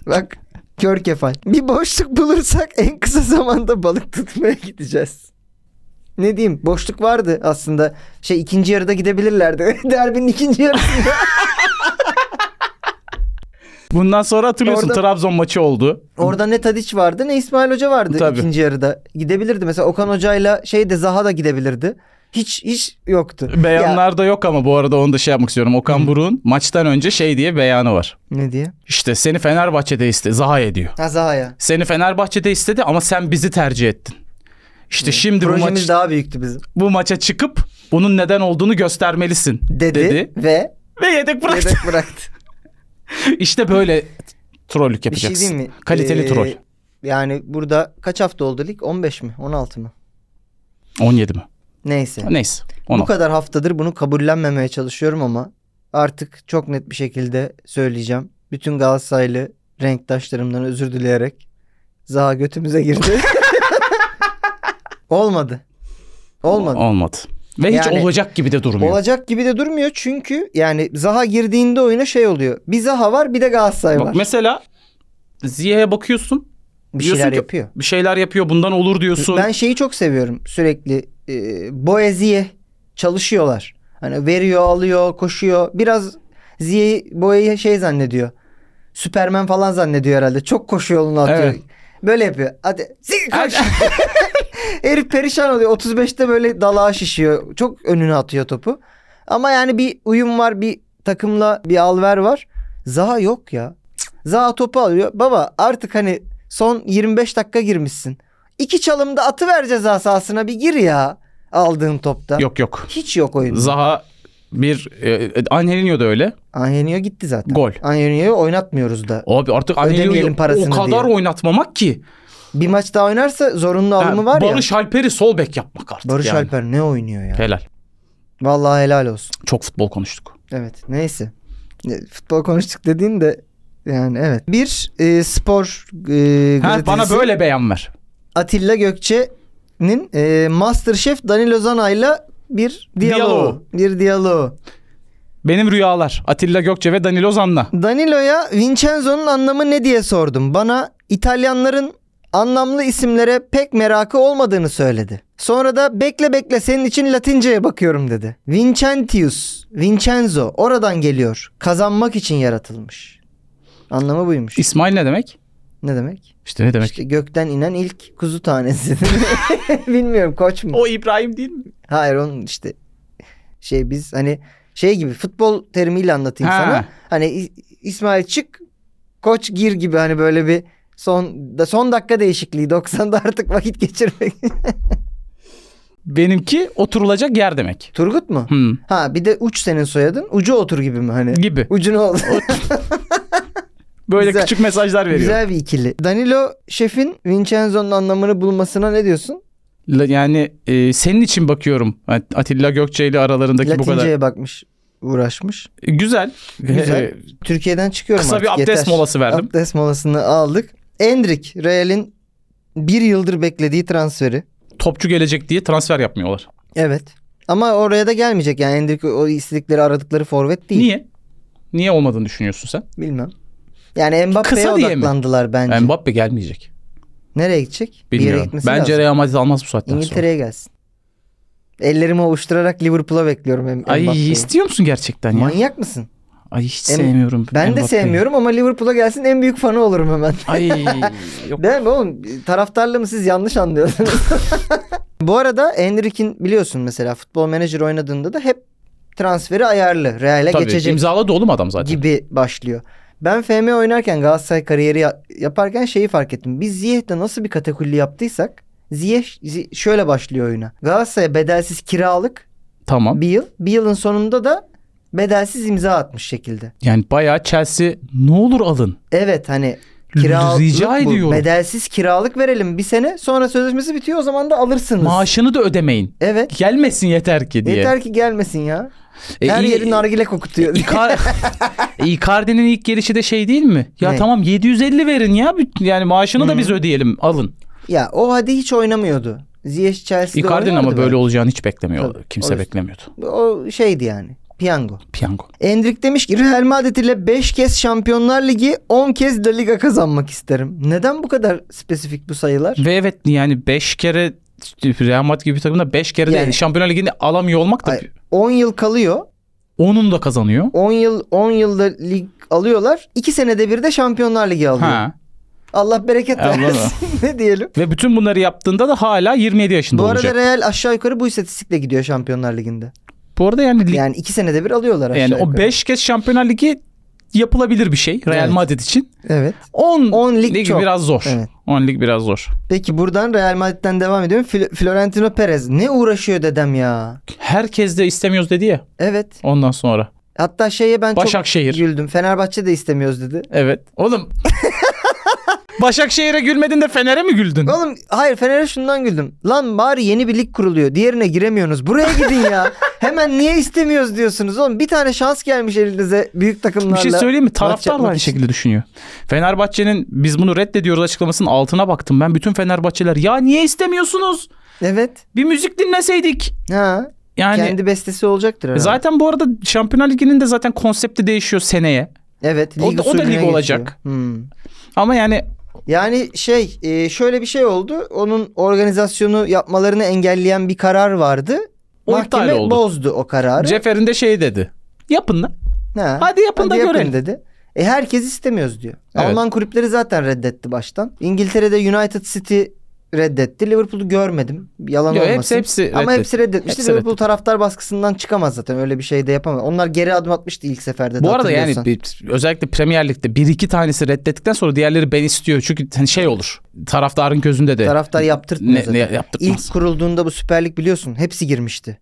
S3: Bak kör kefal. Bir boşluk bulursak en kısa zamanda balık tutmaya gideceğiz. Ne diyeyim boşluk vardı aslında. Şey ikinci yarıda gidebilirlerdi. Derbinin ikinci yarısında.
S2: Bundan sonra hatırlıyorsun
S3: Orada-
S2: Trabzon maçı oldu.
S3: Orada ne Tadiç vardı ne İsmail Hoca vardı
S2: Tabii.
S3: ikinci yarıda. Gidebilirdi mesela Okan Hoca'yla şey de Zaha da gidebilirdi. Hiç hiç yoktu. Ya,
S2: Beyanlarda yok ama bu arada onu da şey yapmak istiyorum. Okan Buruk'un maçtan önce şey diye beyanı var.
S3: ne diye?
S2: İşte seni Fenerbahçe'de iste Zaha ediyor.
S3: Ha Zaha'ya.
S2: Seni Fenerbahçe'de istedi ama sen bizi tercih ettin. İşte şimdi bu,
S3: Projemiz
S2: maç,
S3: daha büyüktü bizim.
S2: bu maça çıkıp bunun neden olduğunu göstermelisin
S3: Dedi, ve
S2: Ve yedek bıraktı.
S3: yedek bıraktı.
S2: işte böyle trollük
S3: Bir şey
S2: yapacaksın.
S3: diyeyim mi?
S2: Kaliteli
S3: Ee,
S2: troll.
S3: Yani burada kaç hafta oldu lig? 15 mi? 16 mı?
S2: 17 mi?
S3: Neyse.
S2: Neyse.
S3: Bu
S2: 16.
S3: kadar haftadır bunu kabullenmemeye çalışıyorum ama artık çok net bir şekilde söyleyeceğim. Bütün Galatasaraylı renktaşlarımdan özür dileyerek Zaha götümüze girdi. Olmadı. Olmadı.
S2: Olmadı. Ve hiç
S3: Yani-
S2: olacak gibi de durmuyor.
S3: Olacak gibi de durmuyor çünkü yani Zaha girdiğinde oyuna şey oluyor. Bir Zaha var bir de Galatasaray
S2: Bak
S3: var.
S2: mesela Ziya'ya bakıyorsun.
S3: Bir
S2: diyorsun
S3: şeyler
S2: ki-
S3: yapıyor.
S2: Bir şeyler yapıyor. Bundan olur diyorsun.
S3: Ben şeyi çok seviyorum sürekli. E, Boezi'ye çalışıyorlar. Hani veriyor, alıyor, koşuyor. Biraz Ziye'yi Boye'yi şey zannediyor. Süpermen falan zannediyor herhalde. Çok koşuyor yolunu atıyor.
S2: Evet.
S3: Böyle yapıyor. Hadi zik, koş. Herif perişan oluyor. 35'te böyle dalağa şişiyor. Çok önüne atıyor topu. Ama yani bir uyum var, bir takımla bir alver var. Zaha yok ya. Zaha topu alıyor. Baba artık hani son 25 dakika girmişsin. İki çalımda atı ver ceza sahasına bir gir ya aldığın topta.
S2: Yok yok.
S3: Hiç yok oyunda.
S2: Zaha bir e, Angelinho da öyle.
S3: Angelino gitti zaten.
S2: Gol.
S3: Angelino'yu oynatmıyoruz da.
S2: Abi artık
S3: Ödemeyelim
S2: Angelinho'yu o
S3: parasını
S2: kadar
S3: diye.
S2: oynatmamak ki.
S3: Bir maç daha oynarsa zorunlu
S2: Ha,
S3: alımı var ya.
S2: Barış Alper'i sol bek yapmak artık.
S3: Barış
S2: yani.
S3: Alper ne oynuyor ya.
S2: Helal.
S3: Vallahi helal olsun.
S2: Çok futbol konuştuk.
S3: Evet neyse. E, Futbol konuştuk dediğin de yani evet. Bir e, spor e,
S2: Ha,
S3: gazetecisi
S2: bana böyle beyan ver.
S3: Atilla Gökçe'nin e, Masterchef Danilo Zana'yla bir diyaloğu.
S2: Diyaloğu.
S3: Bir diyaloğu.
S2: Benim rüyalar. Atilla Gökçe ve Danilo Zanna.
S3: Danilo'ya Vincenzo'nun anlamı ne diye sordum. Bana İtalyanların anlamlı isimlere pek merakı olmadığını söyledi. Sonra da bekle bekle senin için Latince'ye bakıyorum dedi. Vincentius, Vincenzo oradan geliyor. Kazanmak için yaratılmış. Anlamı buymuş.
S2: İsmail ne demek?
S3: ne demek?
S2: İşte ne demek?
S3: İşte gökten inen ilk kuzu tanesi. Bilmiyorum koç mu?
S2: O İbrahim değil mi?
S3: Hayır onun işte şey biz hani şey gibi futbol terimiyle anlatayım
S2: Ha.
S3: sana. Hani İ- İsmail çık koç gir gibi hani böyle bir son da son dakika değişikliği 90'da artık vakit geçirmek.
S2: Benimki oturulacak yer demek.
S3: Turgut mu?
S2: Hmm.
S3: Ha bir de uç senin soyadın. Ucu otur gibi mi hani?
S2: Gibi.
S3: Ucunu ol.
S2: Böyle
S3: Güzel.
S2: küçük mesajlar veriyor.
S3: Güzel bir ikili. Danilo Şef'in Vincenzo'nun anlamını bulmasına ne diyorsun?
S2: La- Yani e, senin için bakıyorum. At- Atilla Gökçe ile aralarındaki bu kadar.
S3: Latince'ye bakmış, uğraşmış.
S2: E, Güzel.
S3: Güzel.
S2: E,
S3: Türkiye'den çıkıyorum
S2: Kısa
S3: artık,
S2: bir abdest
S3: yeter.
S2: molası verdim.
S3: Abdest molasını aldık. Endrick, Real'in bir yıldır beklediği transferi.
S2: topçu gelecek diye transfer yapmıyorlar.
S3: Evet. Ama oraya da gelmeyecek yani Endrick o istedikleri aradıkları forvet değil.
S2: Niye? Niye olmadığını düşünüyorsun sen?
S3: Bilmem. Yani Mbappe'ye
S2: Kısa diye mi?
S3: odaklandılar bence.
S2: Mbappe gelmeyecek.
S3: Nereye gidecek? Bir yere
S2: Bilmiyorum.
S3: gitmesi
S2: Bence
S3: lazım.
S2: Real Madrid almaz bu saatten sonra.
S3: İngiltere'ye gelsin. Ellerimi ovuşturarak Liverpool'a bekliyorum Em-
S2: Ay
S3: Mbappe'yi.
S2: istiyor musun gerçekten ya?
S3: Manyak mısın?
S2: Ay hiç
S3: Em-
S2: sevmiyorum.
S3: Ben de
S2: Mbappe'yi.
S3: sevmiyorum ama Liverpool'a gelsin en büyük fanı olurum hemen.
S2: Ay yok.
S3: Değil mi oğlum? Taraftarlığımı siz yanlış anlıyorsunuz. Bu arada Enrik'in biliyorsun mesela futbol menajer oynadığında da hep transferi ayarlı. Real'e
S2: Tabii
S3: geçecek
S2: imzaladı oğlum adam zaten.
S3: gibi başlıyor. Ben FM oynarken Galatasaray kariyeri ya- yaparken şeyi fark ettim. Biz Ziyeh'te nasıl bir katakulli yaptıysak Ziyeh Zi- şöyle başlıyor oyuna. Galatasaray'a bedelsiz kiralık
S2: Tamam.
S3: bir yıl. Bir yılın sonunda da bedelsiz imza atmış şekilde.
S2: Yani bayağı Chelsea ne olur alın.
S3: Evet hani kiralık
S2: Rica
S3: bu.
S2: ediyorum.
S3: Bedelsiz kiralık verelim bir sene sonra sözleşmesi bitiyor o zaman da alırsınız.
S2: Maaşını da ödemeyin.
S3: Evet.
S2: Gelmesin yeter ki diye.
S3: Yeter ki gelmesin ya.
S2: E,
S3: Her
S2: iyi- E,
S3: yeri nargile kokutuyor.
S2: Icar- E, Icardi'nin ilk gelişi de şey değil mi? Ya
S3: Ne?
S2: tamam 750 verin ya. Büt- Yani maaşını da biz ödeyelim. Alın.
S3: ya o hadi hiç oynamıyordu. Ziyech Chelsea'de
S2: Icardi'nin
S3: oynuyordu
S2: ama böyle
S3: belki.
S2: olacağını hiç beklemiyor.
S3: Tabii, o
S2: Kimse
S3: yüzden.
S2: beklemiyordu.
S3: O şeydi yani. Piyango.
S2: Piyango.
S3: Endrik demiş ki Real Madrid ile 5 kez Şampiyonlar Ligi 10 kez La Liga kazanmak isterim. Neden bu kadar spesifik bu sayılar?
S2: Ve evet yani 5 kere Real Madrid gibi bir takımda 5 kere de
S3: Yani-
S2: Şampiyonlar Ligi'ni alamıyor olmak da
S3: Ay, 10 yıl kalıyor.
S2: onun da kazanıyor.
S3: 10 yıl 10 yılda lig alıyorlar. 2 senede bir de Şampiyonlar Ligi alıyor.
S2: Ha.
S3: Allah bereket
S2: Allah
S3: versin. ne diyelim?
S2: Ve bütün bunları yaptığında da hala 27 yaşında
S3: Bu
S2: olacak.
S3: arada Real aşağı yukarı bu istatistikle gidiyor Şampiyonlar Ligi'nde.
S2: Bu arada yani lig- yani,
S3: Yani 2 senede bir alıyorlar
S2: o
S3: aşağı yukarı.
S2: 5 kez Şampiyonlar Ligi yapılabilir bir şey Real
S3: Evet.
S2: Madrid için.
S3: Evet.
S2: 10,
S3: 10 lig
S2: lig,
S3: çok.
S2: biraz zor.
S3: Evet.
S2: 10 lig biraz zor.
S3: Peki buradan Real Madrid'den devam ediyorum. Fl- Florentino Perez ne uğraşıyor dedem ya.
S2: Herkes de istemiyoruz dedi ya
S3: Evet.
S2: ondan sonra.
S3: Hatta şeye ben
S2: Başakşehir.
S3: çok güldüm. Fenerbahçe de istemiyoruz dedi.
S2: Evet. Oğlum Başakşehir'e gülmedin de Fener'e mi güldün?
S3: Oğlum hayır Fener'e şundan güldüm. Lan bari yeni bir lig kuruluyor. Diğerine giremiyorsunuz. Buraya gidin ya. Hemen niye istemiyoruz diyorsunuz oğlum. Bir tane şans gelmiş elinize büyük takımlarla.
S2: Bir şey söyleyeyim mi?
S3: maç
S2: Taraftar da
S3: yapmak
S2: aynı
S3: için.
S2: şekilde düşünüyor. Fenerbahçe'nin biz bunu reddediyoruz açıklamasının altına baktım ben. Bütün Fenerbahçeler ya niye istemiyorsunuz?
S3: Evet.
S2: Bir müzik dinleseydik.
S3: Ha.
S2: Yani
S3: kendi bestesi olacaktır herhalde.
S2: Hani zaten bu arada Şampiyonlar Ligi'nin de zaten konsepti değişiyor seneye.
S3: Evet.
S2: O
S3: lig
S2: da- o da
S3: usulüne
S2: lig
S3: geçiyor.
S2: olacak.
S3: Hmm.
S2: Ama yani
S3: Yani şey e, şöyle bir şey oldu. Onun organizasyonu yapmalarını engelleyen bir karar vardı.
S2: O
S3: Mahkeme
S2: iptal oldu.
S3: bozdu o kararı.
S2: Cefer'in de şey dedi. Yapın lan.
S3: Ha,
S2: Hadi yapın da görelim.
S3: dedi. E herkes istemiyoruz diyor.
S2: Evet.
S3: Alman kulüpleri zaten reddetti baştan. İngiltere'de United City reddetti. Liverpool'u görmedim. Yalan
S2: Yo,
S3: olmasın.
S2: hepsi hepsi
S3: Ama
S2: reddetti.
S3: hepsi reddetmişti.
S2: Hepsi
S3: Liverpool taraftar baskısından çıkamaz zaten. Öyle bir şey de yapamaz. Onlar geri adım atmıştı ilk seferde. de
S2: Bu arada yani
S3: hatırlıyorsan.
S2: bir- özellikle Premier Lig'de bir iki tanesi reddettikten sonra diğerleri ben istiyor. Çünkü hani şey olur. Taraftarın gözünde de
S3: taraftar yaptırtmıyor
S2: ne,
S3: zaten.
S2: ne yaptırtmaz.
S3: İlk kurulduğunda bu Süper Lig biliyorsun hepsi girmişti.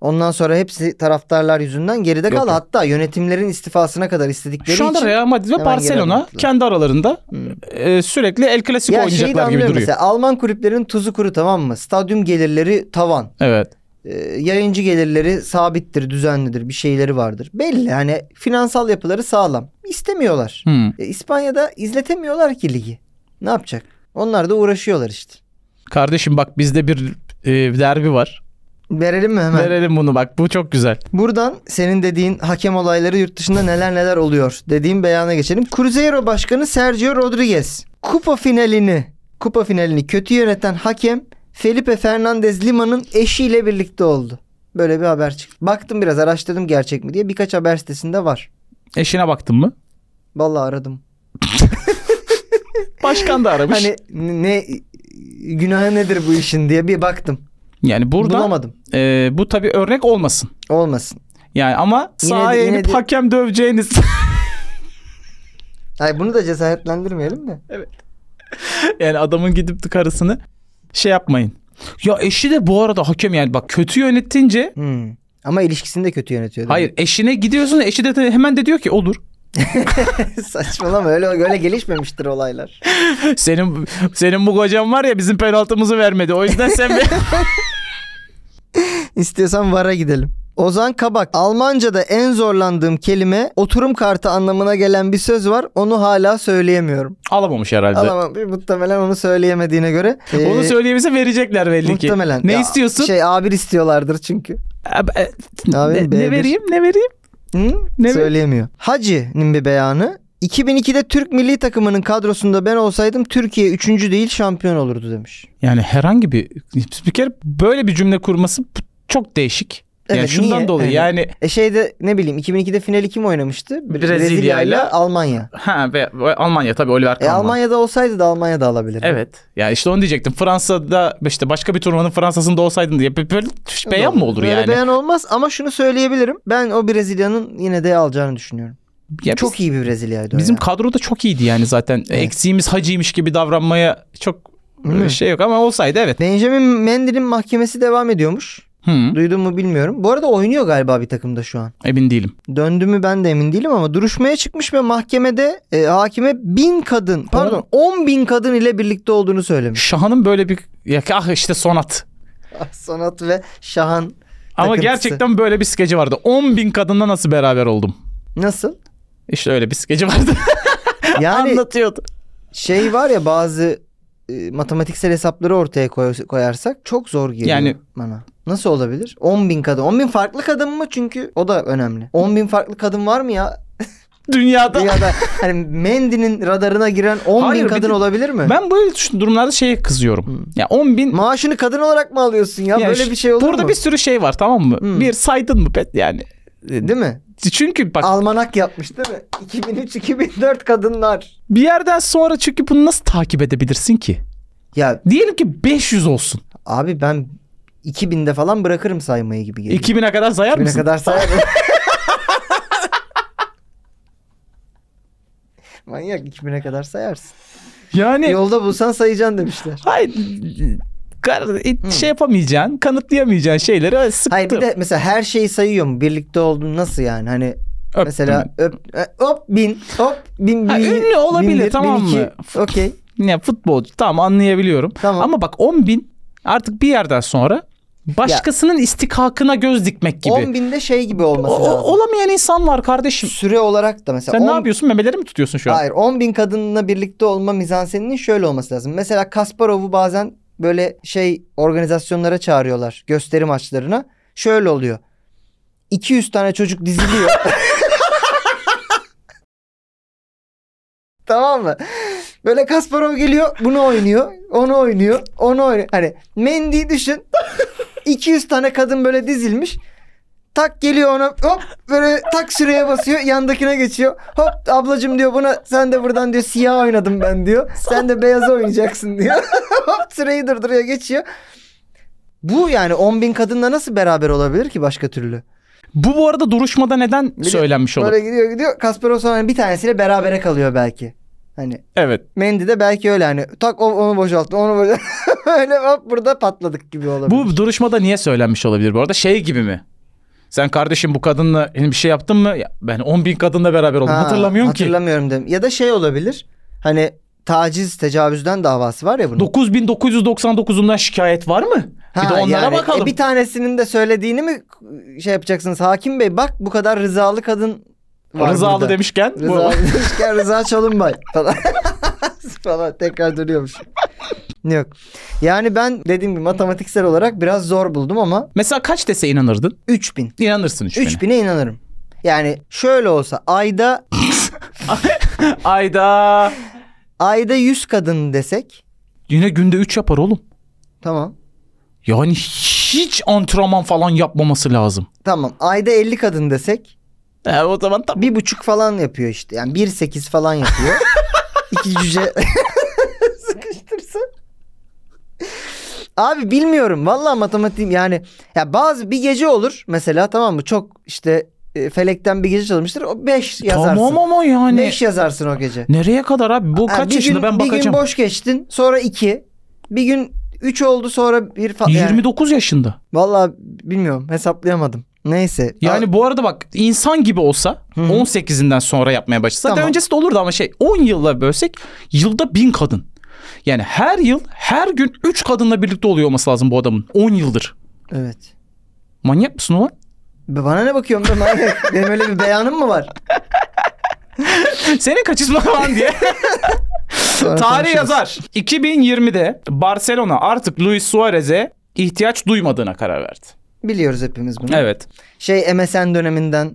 S3: Ondan sonra hepsi taraftarlar yüzünden geride
S2: Yok,
S3: kaldı.
S2: yok.
S3: Hatta yönetimlerin istifasına kadar istedikleri
S2: Şu anda
S3: için.
S2: Real Madrid ve
S3: hemen geri
S2: Barcelona
S3: attılar.
S2: kendi aralarında e, sürekli El Clasico
S3: ya şeyi de
S2: oynayacaklar gibi
S3: anlıyorum
S2: duruyor.
S3: mesela Alman kulüplerin tuzu kuru tamam mı? Stadyum gelirleri tavan.
S2: Evet.
S3: Ee, yayıncı gelirleri sabittir, düzenlidir, bir şeyleri vardır. Belli hani finansal yapıları sağlam. İstemiyorlar.
S2: Hmm.
S3: E, İspanya'da izletemiyorlar ki ligi. Ne yapacak? Onlar da uğraşıyorlar işte.
S2: Kardeşim bak bizde bir e, derbi var.
S3: Verelim mi hemen?
S2: Verelim bunu bak. Bu çok güzel.
S3: Buradan senin dediğin hakem olayları yurt dışında neler neler oluyor dediğim beyana geçelim. Cruzeiro Başkanı Sergio Rodriguez kupa finalini kupa finalini kötü yöneten hakem Felipe Fernandez Lima'nın eşiyle birlikte oldu. Böyle bir haber çıktı. Baktım biraz araştırdım gerçek mi diye birkaç haber sitesinde var.
S2: Eşine baktın mı?
S3: Vallahi aradım.
S2: Başkan da aramış.
S3: Hani ne günahı nedir bu işin diye bir baktım.
S2: yani burada
S3: Bulamadım.
S2: e, bu tabii örnek olmasın.
S3: Olmasın.
S2: Yani ama
S3: Yine de-
S2: sahaya
S3: yine
S2: inip
S3: de-
S2: hakem döveceğiniz.
S3: Hayır bunu da cesaretlendirmeyelim de.
S2: yani adamın gidip karısını şey yapmayın. Ya eşi de bu arada hakem yani bak kötü yönetince
S3: Hmm. Ama ilişkisini de kötü yönetiyor. değil mi?
S2: hayır eşine gidiyorsun eşi de, de hemen de diyor ki olur.
S3: Saçmalama öyle öyle gelişmemiştir olaylar.
S2: Senin senin bu kocan var ya bizim penaltımızı vermedi. O yüzden sen bir-
S3: İstiyorsan VAR'a gidelim. Ozan Kabak. Almanca'da en zorlandığım kelime oturum kartı anlamına gelen bir söz var. Onu hala söyleyemiyorum.
S2: alamamış herhalde.
S3: Ama muhtemelen onu söyleyemediğine göre. ee,
S2: Onu söyleyebilse verecekler belli ki.
S3: Muhtemelen.
S2: Ne
S3: Ya,
S2: istiyorsun?
S3: Şey A1 istiyorlardır çünkü.
S2: Ab- e,
S3: Abi,
S2: ne,
S3: B1.
S2: ne vereyim ne vereyim?
S3: Hı?
S2: Ne-
S3: Söyleyemiyor. Hacı'nin bir beyanı. 2002'de Türk milli takımının kadrosunda ben olsaydım Türkiye 3. değil şampiyon olurdu demiş.
S2: Yani herhangi bir bir kere böyle bir cümle kurması çok değişik. yani
S3: Evet,
S2: şundan
S3: niye?
S2: dolayı
S3: Evet.
S2: yani
S3: E şeyde ne bileyim 2002'de finali kim oynamıştı? Bre-
S2: Brezilya ile
S3: Almanya.
S2: ha ve ve Almanya tabii Oliver
S3: E
S2: Kahn var.
S3: Almanya'da olsaydı da Almanya'da alabilir.
S2: Evet. Ya işte onu diyecektim. Fransa'da işte başka bir turnuvanın Fransa'sında olsaydın diye bir- böyle beyan mı olur
S3: Böyle
S2: yani?
S3: beyan olmaz ama şunu söyleyebilirim. Ben o Brezilya'nın yine de alacağını düşünüyorum.
S2: Ya biz-
S3: Çok iyi bir Brezilya'ydı o
S2: Bizim
S3: ya.
S2: kadroda çok iyiydi yani zaten.
S3: Evet.
S2: Eksiğimiz hacıymış gibi davranmaya çok
S3: Değil mi?
S2: şey yok ama olsaydı evet.
S3: Benjamin Mendel'in mahkemesi devam ediyormuş.
S2: Hı,
S3: Duydun mu bilmiyorum. Bu arada oynuyor galiba bir takımda şu an.
S2: emin değilim.
S3: Döndü mü ben de emin değilim ama duruşmaya çıkmış ve mahkemede e, hakime bin kadın pardon 10 bin kadın ile birlikte olduğunu söylemiş.
S2: Şahan'ın böyle bir ya ah işte Sonat.
S3: Sonat ve Şahan
S2: Ama
S3: Takıntısı.
S2: gerçekten böyle bir skeci vardı. 10 bin kadınla nasıl beraber oldum?
S3: nasıl?
S2: İşte öyle bir skeci vardı.
S3: Yani
S2: Anlatıyordu.
S3: şey var ya bazı e, matematiksel hesapları ortaya koy- koyarsak çok zor geliyor
S2: Yani-
S3: bana. Nasıl olabilir? 10 bin kadın. 10 bin farklı kadın mı? Çünkü o da önemli. 10 bin farklı kadın var mı ya?
S2: Dünyada.
S3: Dünyada hani Mendy'nin radarına giren 10
S2: Hayır,
S3: bin
S2: bir
S3: kadın
S2: de-
S3: olabilir mi?
S2: Ben böyle şu durumlarda şeye kızıyorum. Ya 10 bin
S3: Maaşını kadın olarak mı alıyorsun ya?
S2: Ya
S3: Böyle
S2: şu-
S3: bir şey olur
S2: Burada
S3: mu?
S2: bir sürü şey var tamam mı?
S3: Hmm. E,
S2: Bir saydın mı pet yani? E,
S3: Değil mi?
S2: Çünkü bak
S3: Almanak yapmış değil mi? 2003-2004 kadınlar.
S2: bir yerden sonra çünkü bunu nasıl takip edebilirsin ki?
S3: Ya
S2: Diyelim ki 500 olsun.
S3: abi ben 2000'de falan bırakırım saymayı gibi geliyor.
S2: 2000'e kadar sayar
S3: 2000'e
S2: mısın?
S3: E, kadar sayarım. Manyak 2000'e kadar sayarsın.
S2: Yani
S3: Yolda bulsan sayacaksın demişler.
S2: hayır kar- it- şey yapamayacaksın, kanıtlayamayacağın şeyleri e, öyle sıktım.
S3: Hmm. Hayır bir de mesela her şeyi sayıyor mu? Birlikte oldun nasıl yani? Hani
S2: Öptüm
S3: mesela öp, e, hop bin hop bin
S2: Ha,
S3: bin.
S2: ünlü olabilir,
S3: bin bir,
S2: tamam
S3: bin iki.
S2: mı?
S3: Okey.
S2: ben. Ya futbolcu tamam anlayabiliyorum.
S3: Tamam.
S2: Ama bak 10 bin artık bir yerden sonra başkasının istihkakına göz dikmek gibi.
S3: 10 binde şey gibi
S2: O-
S3: olması
S2: o-
S3: lazım.
S2: olamayan insan var kardeşim.
S3: Süre olarak da mesela.
S2: Sen ne
S3: 10
S2: yapıyorsun? Memeleri mi tutuyorsun şu an?
S3: Hayır 10 bin kadınla birlikte olma mizanseninin şöyle olması lazım. Mesela Kasparov'u bazen böyle şey organizasyonlara çağırıyorlar gösteri maçlarına. Şöyle oluyor. 200 tane çocuk diziliyor. tamam mı? Böyle Kasparov geliyor bunu oynuyor. Onu oynuyor. Onu oynuyor. Hani Mendy'yi düşün. 200 tane kadın böyle dizilmiş. Tak geliyor ona hop böyle tak süreye basıyor yandakine geçiyor. Hop ablacım diyor buna sen de buradan diyor siyah oynadım ben diyor. Sen de beyazı oynayacaksın diyor. hop süreyi durduruyor geçiyor. Bu yani 10 bin kadınla nasıl beraber olabilir ki başka türlü?
S2: Bu bu arada duruşmada neden
S3: de
S2: söylenmiş olur?
S3: Böyle gidiyor gidiyor Kasparov sonra hani bir tanesiyle berabere kalıyor belki. Hani
S2: Evet.
S3: Mendy de belki öyle hani tak o- onu boşalttı onu boşalttı. öyle hop burada patladık gibi olabilir.
S2: Bu duruşmada niye söylenmiş olabilir bu arada? Şey gibi mi? Sen kardeşim bu kadınla yani bir şey yaptın mı? Ya ben 10 bin kadınla beraber oldum.
S3: Ha,
S2: Hatırlamıyorum ki.
S3: Hatırlamıyorum dedim. Ya da şey olabilir. Hani taciz, tecavüzden davası var ya bunun.
S2: 9999'undan şikayet var mı? bir de
S3: Ha,
S2: onlara
S3: yani,
S2: bakalım.
S3: e, bir tanesinin de söylediğini mi şey yapacaksınız? Hakim Bey bak bu kadar rızalı kadın var
S2: Rızalı
S3: burada.
S2: demişken. bu-
S3: Rıza demişken Rıza Çalınbay falan. falan tekrar dönüyormuş. Yok. Yani ben dediğim gibi matematiksel olarak biraz zor buldum ama
S2: Mesela kaç dese inanırdın?
S3: 3000.
S2: İnanırsın 3000'e.
S3: 3000'e inanırım. Yani şöyle olsa ayda
S2: Ayda.
S3: ayda 100 kadın desek
S2: Yine günde 3 yapar oğlum.
S3: tamam.
S2: Yani hiç antrenman falan yapmaması lazım.
S3: Tamam. Ayda 50 kadın desek
S2: E, o zaman tam
S3: bir buçuk falan yapıyor işte. Yani bir sekiz falan yapıyor. İki cüce sıkıştırsa. Abi bilmiyorum. Vallahi matematiğim yani ya bazı bir gece olur mesela tamam mı? Çok işte e, felekten bir gece çalmıştır. O 5 yazarsın.
S2: tamam ama yani.
S3: 5 yazarsın o gece.
S2: Nereye kadar abi? Bu
S3: Ha,
S2: kaç
S3: bir
S2: yaşında
S3: gün,
S2: ben
S3: Bir gün
S2: bakacağım.
S3: boş geçtin. Sonra 2. Bir gün 3 oldu sonra bir falan.
S2: 29 yaşında.
S3: Vallahi bilmiyorum. Hesaplayamadım. Neyse.
S2: Yani bu arada bak insan gibi olsa
S3: Hı hı.
S2: 18'inden sonra yapmaya başlasa
S3: Tamam.
S2: daha öncesi de olurdu ama şey 10 yılla bölsek yılda 1000 kadın. Yani her yıl her gün 3 kadınla birlikte oluyor olması lazım bu adamın 10 yıldır.
S3: Evet.
S2: Manyak mısın ulan?
S3: Be- Bana ne bakıyorum ben manyak. Benim öyle bir beyanım mı var?
S2: Senin kaçışma falan diye.
S3: Sonra
S2: Tarih
S3: konuşuruz.
S2: yazar. 2020'de Barcelona artık Luis Suarez'e ihtiyaç duymadığına karar verdi.
S3: Biliyoruz hepimiz bunu.
S2: Evet.
S3: Şey MSN döneminden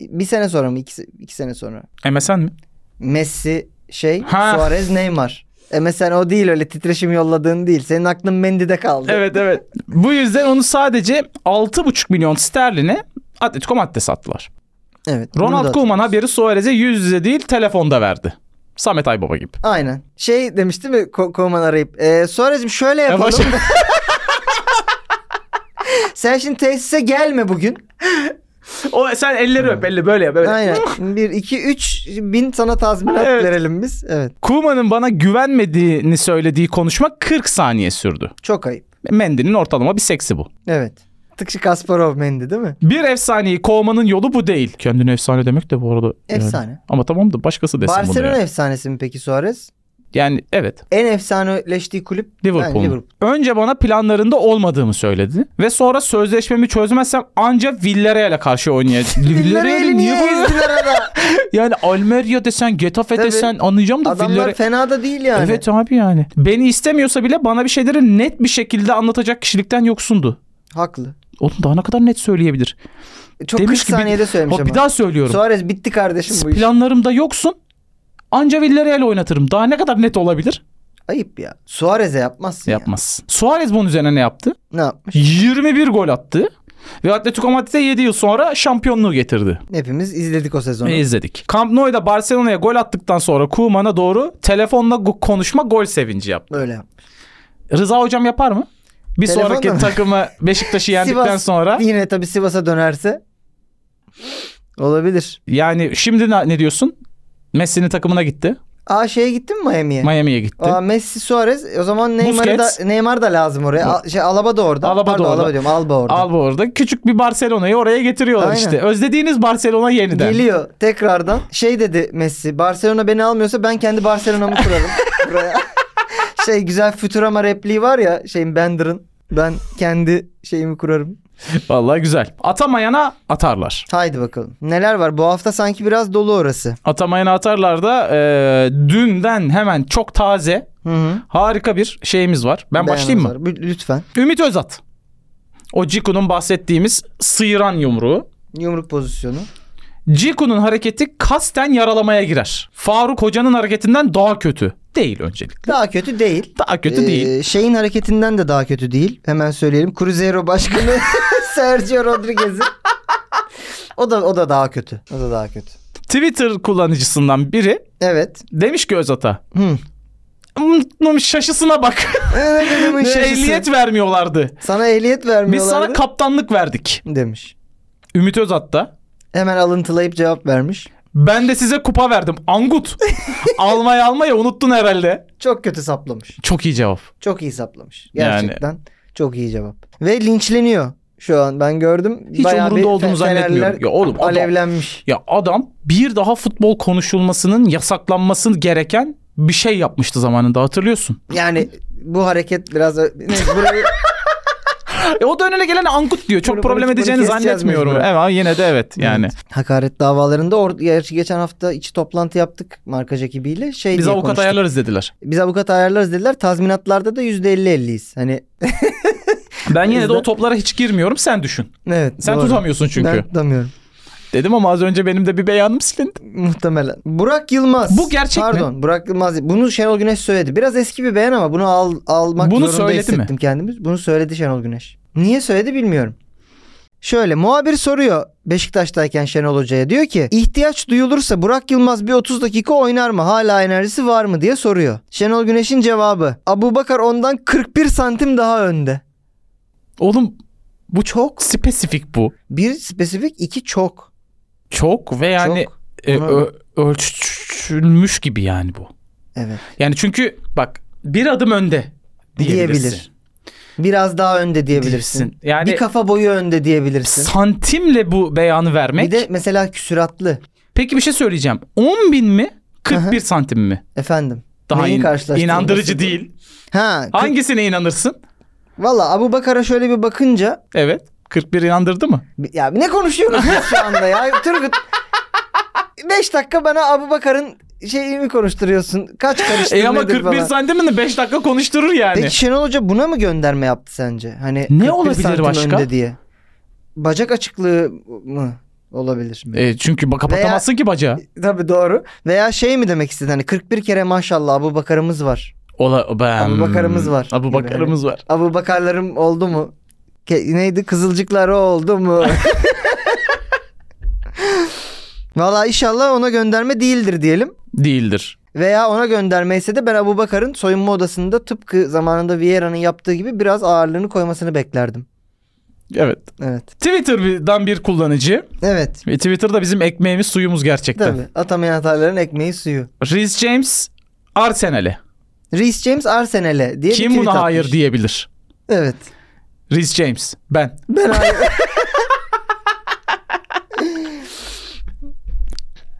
S3: bir sene sonra mı? İki, se- iki sene sonra.
S2: MSN mi?
S3: Messi şey
S2: Ha.
S3: Suarez Neymar. MSN o değil öyle titreşim yolladığın değil. Senin aklın Mendy'de kaldı.
S2: Evet evet. Bu yüzden onu sadece 6,5 milyon sterline Atletico Madrid sattılar.
S3: Evet, bunu da
S2: Ronald
S3: hatırlıyorum.
S2: Koeman haberi Suarez'e yüz yüze değil telefonda verdi. Samet Aybaba gibi.
S3: Aynen. Şey demişti mi Ko- Koeman arayıp. E, Suarez'im şöyle yapalım.
S2: baş-
S3: Sen şimdi tesise gelme bugün.
S2: o sen elleri öp, elleri böyle yap. Evet.
S3: Aynen. 1, 2, 3 bin sana tazminat
S2: Evet.
S3: verelim biz. Evet.
S2: Koeman'ın bana güvenmediğini söylediği konuşma 40 saniye sürdü.
S3: Çok ayıp.
S2: Mendy'nin ortalama bir seksi bu.
S3: Evet. Tıkçı Kasparov Mendy değil mi?
S2: Bir efsaneyi kovmanın yolu bu değil. Kendini efsane demek de bu arada. yani.
S3: Efsane.
S2: Ama tamam da başkası desin bunu.
S3: Barcelona
S2: Yani.
S3: efsanesi mi peki Suarez?
S2: yani evet.
S3: En efsaneleştiği kulüp
S2: Liverpool.
S3: Yani Liverpool.
S2: Önce bana planlarında olmadığımı söyledi. Ve sonra sözleşmemi çözmezsem anca Villarreal'e karşı oynayacağım.
S3: Villarreal'i niye ezdiler ara?
S2: Yani Almeria desen, Getafe
S3: Tabii.
S2: desen anlayacağım da
S3: Adamlar
S2: Villarreal.
S3: fena da değil yani.
S2: Evet abi yani. Beni istemiyorsa bile bana bir şeyleri net bir şekilde anlatacak kişilikten yoksundu.
S3: Haklı.
S2: Oğlum daha ne kadar net söyleyebilir.
S3: Çok
S2: Demiş
S3: 40
S2: ki bir-
S3: saniyede söylemiş
S2: Bak
S3: ama.
S2: bir daha söylüyorum.
S3: Suarez bitti kardeşim bu iş.
S2: Planlarımda yoksun. Anca Villarreal oynatırım. Daha ne kadar net olabilir?
S3: Ayıp ya. Suarez'e yapmazsın ya.
S2: Yapmaz. Suarez bunun üzerine ne yaptı?
S3: Ne yapmış?
S2: 21 gol attı. Ve Atletico Madrid'e 7 yıl sonra şampiyonluğu getirdi.
S3: Hepimiz izledik o sezonu.
S2: Ve izledik. Camp Nou'da Barcelona'ya gol attıktan sonra Koeman'a doğru telefonla go- konuşma gol sevinci yaptı.
S3: Böyle yapmış.
S2: Rıza hocam yapar mı? Bir
S3: Telefonla
S2: sonraki
S3: mı?
S2: takımı Beşiktaş'ı yendikten
S3: Sivas
S2: sonra
S3: Yine tabii Sivas'a dönerse olabilir.
S2: yani şimdi ne, ne diyorsun? Messi'nin takımına gitti.
S3: Aa şeye gittin mi Miami'ye?
S2: Miami'ye gitti.
S3: E. Aa, Messi Suarez e, o zaman Neymar'ı da
S2: Busquets.
S3: Neymar da lazım oraya. Al- şey Alaba da orada.
S2: Alaba da
S3: Pardon,
S2: orada.
S3: Alaba diyorum. Alba orada.
S2: Al bu arada küçük bir Barcelona'yı oraya getiriyorlar
S3: Aynen.
S2: işte. Özlediğiniz Barcelona yeniden.
S3: Geliyor tekrardan. Şey dedi Messi. Barcelona beni almıyorsa ben kendi Barcelona'mı kurarım. buraya. Şey güzel Futurama repliği var ya şeyin Bender'ın. Ben kendi şeyimi kurarım.
S2: Vallahi güzel. Atamayana atarlar.
S3: Haydi bakalım. Neler var? Bu hafta sanki biraz dolu orası.
S2: Atamayana atarlar da e, dünden hemen çok taze
S3: Hı hı.
S2: harika bir şeyimiz var. Ben başlayayım mı?
S3: Beyanımız var. Bir- Lütfen.
S2: Ümit Özat. O Ciku'nun bahsettiğimiz sıyıran yumruğu.
S3: Yumruk pozisyonu.
S2: Ciku'nun hareketi kasten yaralamaya girer. Faruk Hoca'nın hareketinden daha kötü. Değil öncelikle.
S3: Daha kötü değil.
S2: Daha kötü
S3: Ee,
S2: değil.
S3: Şeyin hareketinden de daha kötü değil. Hemen söyleyelim. Cruzeiro başkanı Sergio Rodriguez'in. o da o da daha kötü. O da daha kötü.
S2: Twitter kullanıcısından biri
S3: Evet.
S2: demiş ki Özat'a.
S3: Hı.
S2: "Hmm, Şaşısına bak. Şey,
S3: Evet, adamın şaşısı.
S2: Ehliyet vermiyorlardı.
S3: Sana ehliyet
S2: Biz
S3: vermiyorlardı.
S2: sana kaptanlık verdik.
S3: demiş.
S2: Ümit Özat da.
S3: Hemen alıntılayıp cevap vermiş.
S2: Ben de size kupa verdim. Angut. almaya almaya unuttun herhalde.
S3: Çok kötü saplamış.
S2: Çok iyi cevap.
S3: Çok iyi saplamış.
S2: Yani-
S3: Gerçekten çok iyi cevap. Ve linçleniyor şu an. Ben gördüm.
S2: Hiç
S3: Bayağı
S2: umurunda
S3: bir
S2: olduğunu
S3: fe- Fenerler
S2: zannetmiyorum. Ya oğlum adam-
S3: Alevlenmiş.
S2: Ya adam bir daha futbol konuşulmasının yasaklanması gereken bir şey yapmıştı zamanında hatırlıyorsun.
S3: Yani bu hareket biraz... Neyse burayı...
S2: E o da önüne gelen Angut diyor. Çok
S3: Bunu-
S2: problem
S3: bunu-
S2: edeceğini
S3: bunu keseceğiz
S2: zannetmiyorum.
S3: mecburen.
S2: Evet ama yine de evet yani.
S3: Evet. Hakaret davalarında or- gerçi geçen hafta içi toplantı yaptık markaj ekibiyle. Şey
S2: Biz
S3: diye
S2: avukat
S3: konuştuk.
S2: ayarlarız dediler.
S3: Biz avukat ayarlarız dediler. Tazminatlarda da %50-50'yiz. Hani
S2: Ben yine de
S3: yüzden-
S2: o toplara hiç girmiyorum sen düşün.
S3: evet.
S2: Sen
S3: doğru.
S2: tutamıyorsun çünkü.
S3: Ben tutamıyorum.
S2: Dedim ama az önce benim de bir beyanım silindi.
S3: Muhtemelen. Burak Yılmaz.
S2: Bu gerçek mi?
S3: Pardon, Burak Yılmaz. Bunu Şenol Güneş söyledi. Biraz eski bir beğen ama bunu al, almak
S2: Bunu
S3: zorunda
S2: söyledi mi?
S3: hissettim kendimiz. Bunu söyledi Şenol Güneş. Niye söyledi bilmiyorum. Şöyle muhabir soruyor Beşiktaş'tayken Şenol Hoca'ya diyor ki ihtiyaç duyulursa Burak Yılmaz bir 30 dakika oynar mı hala enerjisi var mı diye soruyor. Şenol Güneş'in cevabı Abu Bakar ondan 41 santim daha önde.
S2: Oğlum bu çok spesifik bu.
S3: Bir spesifik iki çok.
S2: Çok ve yani
S3: Çok.
S2: e,
S3: Ama-
S2: ö- ölçülmüş gibi yani bu.
S3: Evet.
S2: Yani çünkü bak bir adım önde diyebilirsin.
S3: Diyebilir. Biraz daha önde diyebilirsin.
S2: Bilirsin. Yani
S3: bir kafa boyu önde diyebilirsin.
S2: santimle bu beyanı vermek.
S3: Bir de mesela küsüratlı.
S2: Peki bir şey söyleyeceğim. 10 bin mi? 41 santim mi?
S3: Efendim.
S2: Daha
S3: Neyi
S2: in-
S3: karşılaştırması?
S2: inandırıcı değil.
S3: Ha. kırk-
S2: Hangisine inanırsın?
S3: Valla Abu Bakar'a şöyle bir bakınca
S2: Evet. 41 inandırdı mı? E
S3: ya ne konuşuyoruz biz şu anda ya? Turgut 5 dakika bana Abu Bakar'ın şeyini konuşturuyorsun. Kaç karıştı
S2: E ama
S3: nedir
S2: 41
S3: falan.
S2: santimini 5 dakika konuşturur yani.
S3: Peki Şenol Hoca buna mı gönderme yaptı sence? Hani 41
S2: olabilir
S3: santim
S2: başka?
S3: önde diye. Bacak açıklığı mı olabilir? mi?
S2: E, çünkü bak- kapatamazsın ki bacağı.
S3: Tabii doğru. Veya şey mi demek istedi hani 41 kere maşallah Abu Bakar'ımız var.
S2: Ola, ben...
S3: Abu Bakar'ımız var.
S2: Abu
S3: Gibi
S2: Bakar'ımız var.
S3: Abu Bakar'larım oldu mu? Ke- neydi kızılcıkları oldu mu? Valla inşallah ona gönderme değildir diyelim.
S2: Değildir.
S3: Veya ona göndermeyse de ben Abu Bakar'ın soyunma odasında tıpkı zamanında Vieira'nın yaptığı gibi biraz ağırlığını koymasını beklerdim.
S2: Evet.
S3: Evet.
S2: Twitter'dan bir kullanıcı.
S3: Evet.
S2: Ve Twitter'da bizim ekmeğimiz suyumuz gerçekten.
S3: Tabii. Atamayan hataların ekmeği suyu.
S2: Reece James Arsenal'e.
S3: Reece James Arsenal'e diye bir
S2: Kim
S3: tweet
S2: buna
S3: atmış.
S2: hayır diyebilir?
S3: Evet.
S2: Reece James. Ben.
S3: Ben hayır.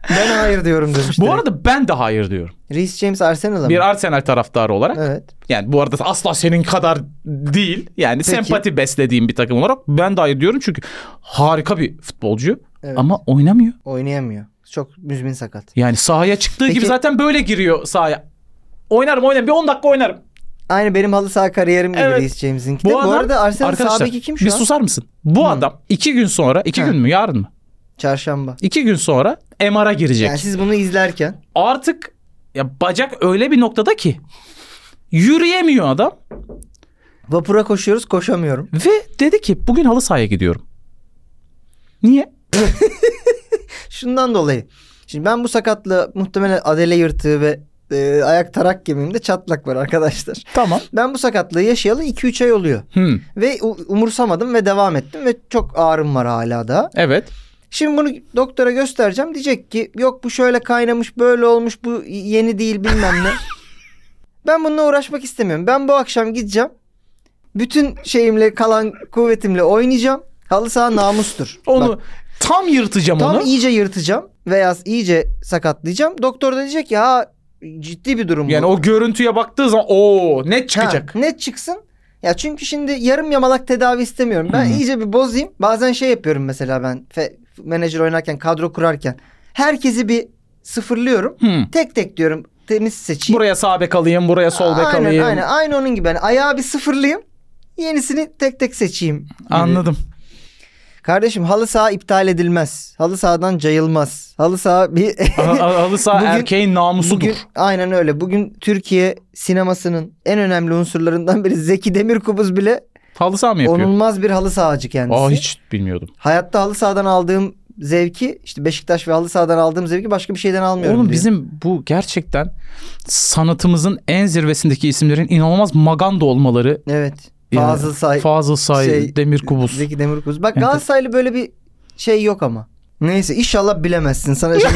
S3: ben hayır diyorum demiş.
S2: Bu
S3: direkt.
S2: arada ben de hayır diyorum.
S3: Reece James Arsenal'a
S2: Bir
S3: mı?
S2: Arsenal taraftarı olarak.
S3: Evet.
S2: Yani bu arada asla senin kadar değil. Yani
S3: Peki.
S2: sempati beslediğim bir takım olarak ben de hayır diyorum çünkü harika bir futbolcu
S3: Evet.
S2: ama oynamıyor.
S3: Oynayamıyor. Çok müzmin sakat.
S2: Yani sahaya çıktığı
S3: Peki.
S2: gibi zaten böyle giriyor sahaya. Oynarım oynarım bir 10 dakika oynarım.
S3: Aynı benim halı saha kariyerim gibi
S2: Evet.
S3: Reece James'inki de. Bu, arada Arsenal sağ beki kim şu
S2: bir
S3: an?
S2: susar mısın? Bu adam iki gün sonra iki
S3: Hı.
S2: gün mü yarın mı?
S3: Çarşamba.
S2: İki gün sonra MR'a girecek.
S3: Yani siz bunu izlerken
S2: Artık ya bacak öyle bir noktada ki yürüyemiyor adam
S3: vapura koşuyoruz koşamıyorum.
S2: ve dedi ki bugün halı sahaya gidiyorum. Niye?
S3: Şundan dolayı. Şimdi ben bu sakatla muhtemelen adele yırtığı ve e, ayak tarak kemiğimde çatlak var arkadaşlar.
S2: Tamam.
S3: Ben bu sakatlığı yaşayalı 2-3 ay oluyor.
S2: Hmm.
S3: Ve u- umursamadım ve devam ettim ve çok ağrım var hala da.
S2: Evet.
S3: Şimdi bunu doktora göstereceğim. Diyecek ki yok bu şöyle kaynamış böyle olmuş bu yeni değil bilmem ne. ben bununla uğraşmak istemiyorum. Ben bu akşam gideceğim. Bütün şeyimle kalan kuvvetimle oynayacağım. Halı saha namustur.
S2: Onu
S3: Bak,
S2: tam yırtacağım
S3: tam
S2: onu.
S3: iyice yırtacağım veya iyice sakatlayacağım. Doktor da diyecek ki ha ciddi bir durum
S2: Yani
S3: bu.
S2: o görüntüye baktığı zaman o net
S3: Ha,
S2: çıkacak.
S3: net çıksın. Ya çünkü şimdi yarım yamalak tedavi istemiyorum. Ben
S2: Hı hı.
S3: iyice bir bozayım. Bazen şey yapıyorum mesela ben fe- menajer oynarken, kadro kurarken. Herkesi bir sıfırlıyorum.
S2: Hmm.
S3: Tek tek diyorum temiz seçeyim.
S2: Buraya sağ bek alayım, buraya sol bek
S3: aynen,
S2: alayım.
S3: aynen, aynı onun gibi. Yani ayağı bir sıfırlayayım. Yenisini tek tek seçeyim. gibi.
S2: Anladım.
S3: Kardeşim halı saha iptal edilmez. Halı sahadan cayılmaz. Halı saha bir...
S2: Ha- ha- Halı saha
S3: Bugün-
S2: erkeğin namusudur.
S3: Bugün, aynen öyle. Bugün Türkiye sinemasının en önemli unsurlarından biri Zeki Demirkubuz bile
S2: Halı saha mı yapıyor?
S3: Onulmaz bir halı sahacı kendisi.
S2: Aa hiç bilmiyordum.
S3: Hayatta halı sahadan aldığım zevki işte Beşiktaş ve halı sahadan aldığım zevki başka bir şeyden almıyorum.
S2: Oğlum
S3: diyor.
S2: bizim bu gerçekten sanatımızın en zirvesindeki isimlerin inanılmaz maganda olmaları.
S3: Evet.
S2: Yani
S3: Fazıl Say.
S2: Fazıl Say,
S3: şey,
S2: Demir Kubus.
S3: Zeki Demirkubuz. Bak
S2: Evet.
S3: Galatasaraylı böyle bir şey yok ama. Neyse inşallah bilemezsin sana şimdi.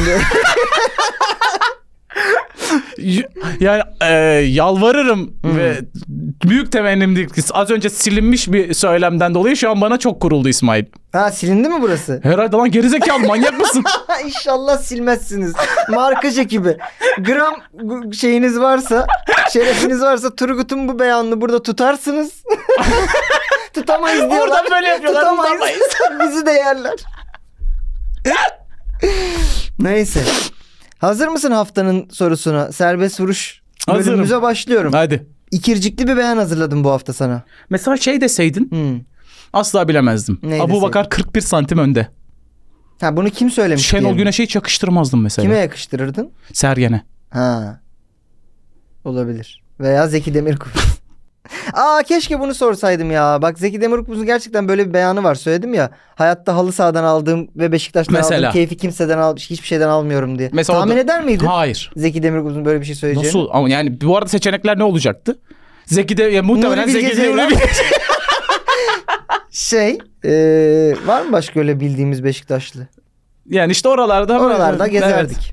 S2: Y- Yani e, yalvarırım
S3: Hı.
S2: ve büyük temennim ki az önce silinmiş bir söylemden dolayı şu an bana çok kuruldu İsmail.
S3: ha silindi mi burası?
S2: Herhalde lan gerizekalı manyak mısın?
S3: inşallah silmezsiniz. Markaj ekibi. Gram gu- şeyiniz varsa, şerefiniz varsa Turgut'un bu beyanını burada tutarsınız. Tutamayız diyorlar.
S2: Oradan böyle yapıyorlar,
S3: Tutamayız. Bizi de yerler. Neyse. Hazır mısın haftanın sorusuna? Serbest vuruş
S2: Hazırım.
S3: bölümümüze başlıyorum.
S2: Hadi.
S3: İkircikli bir beyan hazırladım bu hafta sana.
S2: Mesela şey deseydin
S3: Hmm.
S2: asla bilemezdim.
S3: Neyi
S2: Abu
S3: deseydin?
S2: Bakar 41 santim önde.
S3: Ha bunu kim söylemiş?
S2: Şenol
S3: diyelim.
S2: Güneş'e hiç yakıştırmazdım mesela.
S3: Kime yakıştırırdın?
S2: Sergen'e.
S3: Ha. Olabilir. Veya Zeki Demirkubuz. Aa keşke bunu sorsaydım ya. Bak Zeki Demirkubuz'un gerçekten böyle bir beyanı var. Söyledim ya. Hayatta halı sahadan aldığım ve Beşiktaş'tan
S2: Mesela.
S3: aldığım keyfi kimseden al hiçbir şeyden almıyorum diye.
S2: Mesela o
S3: Tahmin
S2: da-
S3: eder miydin?
S2: Hayır.
S3: Zeki Demirkubuz'un böyle bir şey söyleyeceğini.
S2: Nasıl? Ama yani bu arada seçenekler ne olacaktı? Zeki de ya muhtemelen
S3: Nuri Bilge
S2: Zeki de
S3: Ceylan.
S2: Nuri Bilge-
S3: Şey, e, var mı başka öyle bildiğimiz Beşiktaşlı?
S2: Yani işte oralarda
S3: Oralarda
S2: Evet.
S3: gezerdik.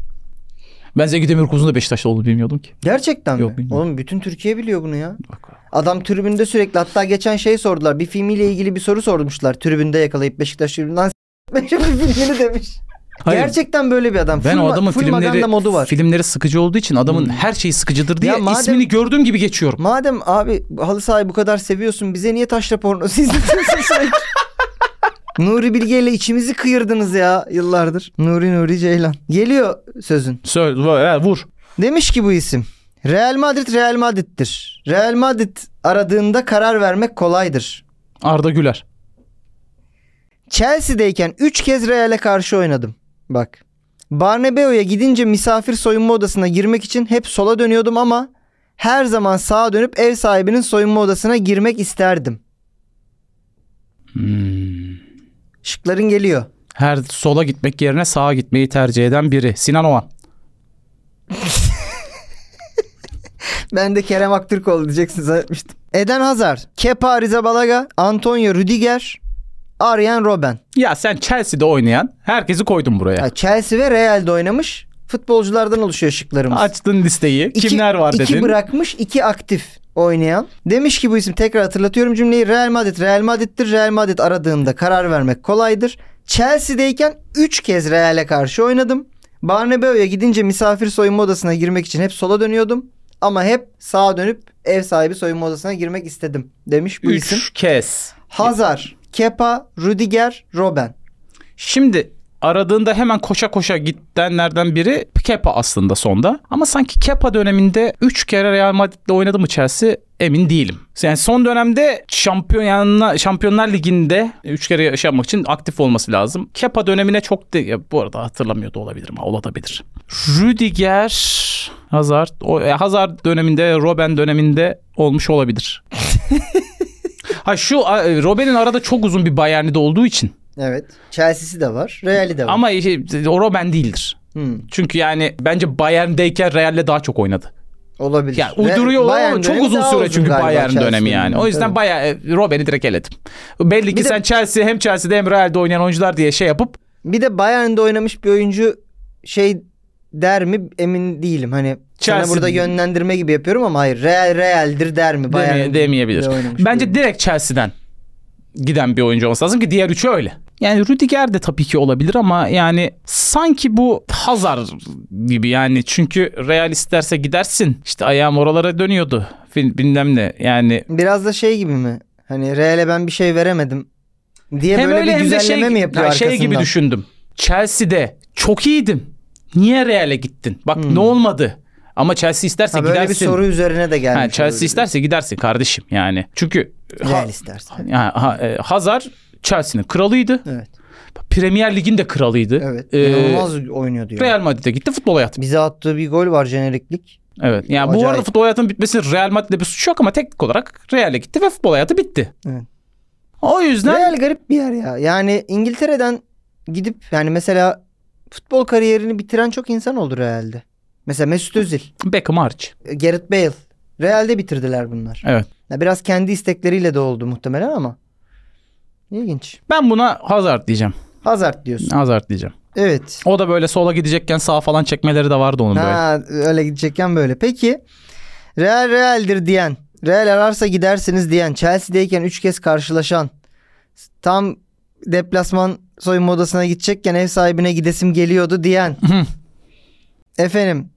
S2: Ben Zeki Demirkubuz'un da Beşiktaşlı olduğunu bilmiyordum ki.
S3: Gerçekten
S2: Yok,
S3: mi?
S2: bilmiyorum.
S3: Oğlum bütün Türkiye biliyor bunu ya.
S2: Bak.
S3: Adam tribünde sürekli hatta geçen şey sordular. Bir filmiyle ilgili bir soru sormuşlar. Tribünde yakalayıp Beşiktaş tribünden s***miş bir filmini demiş.
S2: Hayır.
S3: Gerçekten böyle bir adam.
S2: ben
S3: Full
S2: o
S3: ma-
S2: adamın
S3: full maganda
S2: filmleri
S3: modu var. Hmm.
S2: filmleri sıkıcı olduğu için adamın her şeyi sıkıcıdır diye
S3: Ya madem-
S2: ismini gördüğüm gibi geçiyorum.
S3: Madem abi halı sahayı bu kadar seviyorsun bize niye taşla pornosu izletiyorsun sürekli? Nuri Bilge ile içimizi kıyırdınız ya yıllardır. Nuri Nuri Ceylan. Geliyor sözün.
S2: Söyle ver, vur.
S3: Demiş ki bu isim. Real Madrid Real Madrid'dir. Real Madrid aradığında karar vermek kolaydır.
S2: Arda Güler.
S3: Chelsea'deyken 3 kez Real'e karşı oynadım. Bak. Barnebeu'ya gidince misafir soyunma odasına girmek için hep sola dönüyordum ama her zaman sağa dönüp ev sahibinin soyunma odasına girmek isterdim. Şıkların geliyor.
S2: Her sola gitmek yerine sağa gitmeyi tercih eden biri. Sinan Oğan.
S3: Ben de Kerem Aktürkoğlu diyeceksin zannetmiştim. Eden Hazar, Kepa Rizabalaga, Antonio Rüdiger, Arjen Robben.
S2: Ya sen Chelsea'de oynayan herkesi koydun buraya.
S3: Ha, Chelsea ve Real'de oynamış. Futbolculardan oluşuyor şıklarımız.
S2: Açtın listeyi.
S3: İki-
S2: Kimler var dedin.
S3: İki bırakmış, iki aktif oynayan. Demiş ki bu isim tekrar hatırlatıyorum cümleyi. Real Madrid, Real Madrid'dir. Real Madrid aradığında karar vermek kolaydır. Chelsea'deyken 3 kez Real'e karşı oynadım. Barnebeu'ya gidince misafir soyunma odasına girmek için hep sola dönüyordum. Ama hep sağa dönüp ev sahibi soyunma odasına girmek istedim demiş bu isim.
S2: Üç kez.
S3: Hazar, Kepa, Rüdiger, Robben.
S2: Şimdi aradığında hemen koşa koşa gidenlerden biri Kepa aslında sonda. Ama sanki Kepa döneminde 3 kere Real Madrid'le oynadı mı Chelsea emin değilim. Yani son dönemde şampiyonlar, şampiyonlar liginde 3 kere yaşamak için aktif olması lazım. Kepa dönemine çok de, ya bu arada hatırlamıyor da olabilirim. ha, Olabilir. Rüdiger Hazard, o, e, Hazard döneminde, Robben döneminde olmuş olabilir. ha şu e, Robben'in arada çok uzun bir Bayern'de olduğu için
S3: Evet. Chelsea'si de var. Real'i de var.
S2: ama işte o Robben değildir.
S3: Hmm,
S2: Çünkü yani bence Bayern'deyken Real'le daha çok oynadı.
S3: olabilir.
S2: Yani uyduruyorlar
S3: Bayern
S2: ama çok
S3: dönemi
S2: uzun
S3: daha
S2: süre çünkü
S3: galiba
S2: Bayern
S3: Chelsea
S2: dönemi yani. O
S3: döneminden.
S2: yüzden
S3: Tabii.
S2: bayağı e, Robben'i direkt eledim. Belli ki
S3: Bir de-
S2: sen Chelsea hem Chelsea'de hem Real'de oynayan oyuncular diye şey yapıp
S3: Bir de Bayern'de oynamış bir oyuncu şey der mi emin değilim. Hani
S2: Chelsea-
S3: sana burada yönlendirme gibi yapıyorum ama hayır Real Real'dir der mi Bayern?
S2: deme- demeyebilir. Bence
S3: de...
S2: direkt Chelsea'den giden bir oyuncu olması lazım ki diğer üçü öyle. Yani Rüdiger de tabii ki olabilir ama yani sanki bu Hazard gibi yani çünkü Real isterse gidersin. İşte ayağım oralara dönüyordu. Fil- Bilmem ne yani
S3: biraz da şey gibi mi? Hani Real'e ben bir şey veremedim diye böyle bir güzelleme mi yapıyor
S2: yani
S3: arkasından?
S2: şey gibi düşündüm. Chelsea'de çok iyiydim. Niye Real'e gittin? Bak ne olmadı? Ama Chelsea isterse
S3: Hmm. Ha, böyle
S2: gidersin.
S3: bir soru üzerine de gelmiş.
S2: Ha, Chelsea
S3: olabilir.
S2: isterse gidersin kardeşim yani. Çünkü ha,
S3: Real isterse.
S2: ha, ha- e, Hazar Chelsea'nin kralıydı.
S3: Evet.
S2: Premier Lig'in de kralıydı.
S3: Evet. şey.
S2: Ee,
S3: İnanılmaz oynuyor diyor.
S2: Real Madrid'e gitti futbol hayatı.
S3: Bize attığı bir gol var jeneriklik.
S2: Evet. Yani bu
S3: Acayip.
S2: arada futbol hayatının bitmesinin Real Madrid'le bir suçu yok ama teknik olarak Real'e gitti ve futbol hayatı bitti.
S3: Evet.
S2: O yüzden
S3: Real garip bir yer ya. Yani İngiltere'den gidip yani mesela futbol kariyerini bitiren çok insan oldu Real'de. Mesela Mesut Özil,
S2: Beckham hariç.
S3: Gareth Bale. Real'de bitirdiler bunlar.
S2: Evet.
S3: Ya biraz kendi istekleriyle de oldu muhtemelen ama. İlginç.
S2: Ben buna Hazard diyeceğim.
S3: Hazard diyorsun.
S2: Hazard diyeceğim.
S3: Evet.
S2: O da böyle sola gidecekken sağa falan çekmeleri de vardı onun böyle.
S3: Ha, öyle gidecekken böyle. Peki Real Real'dir diyen, Real ararsa gidersiniz diyen, Chelsea'deyken 3 kez karşılaşan, tam deplasman soyunma odasına gidecekken ev sahibine gidesim geliyordu diyen.
S2: Hı.
S3: Efendim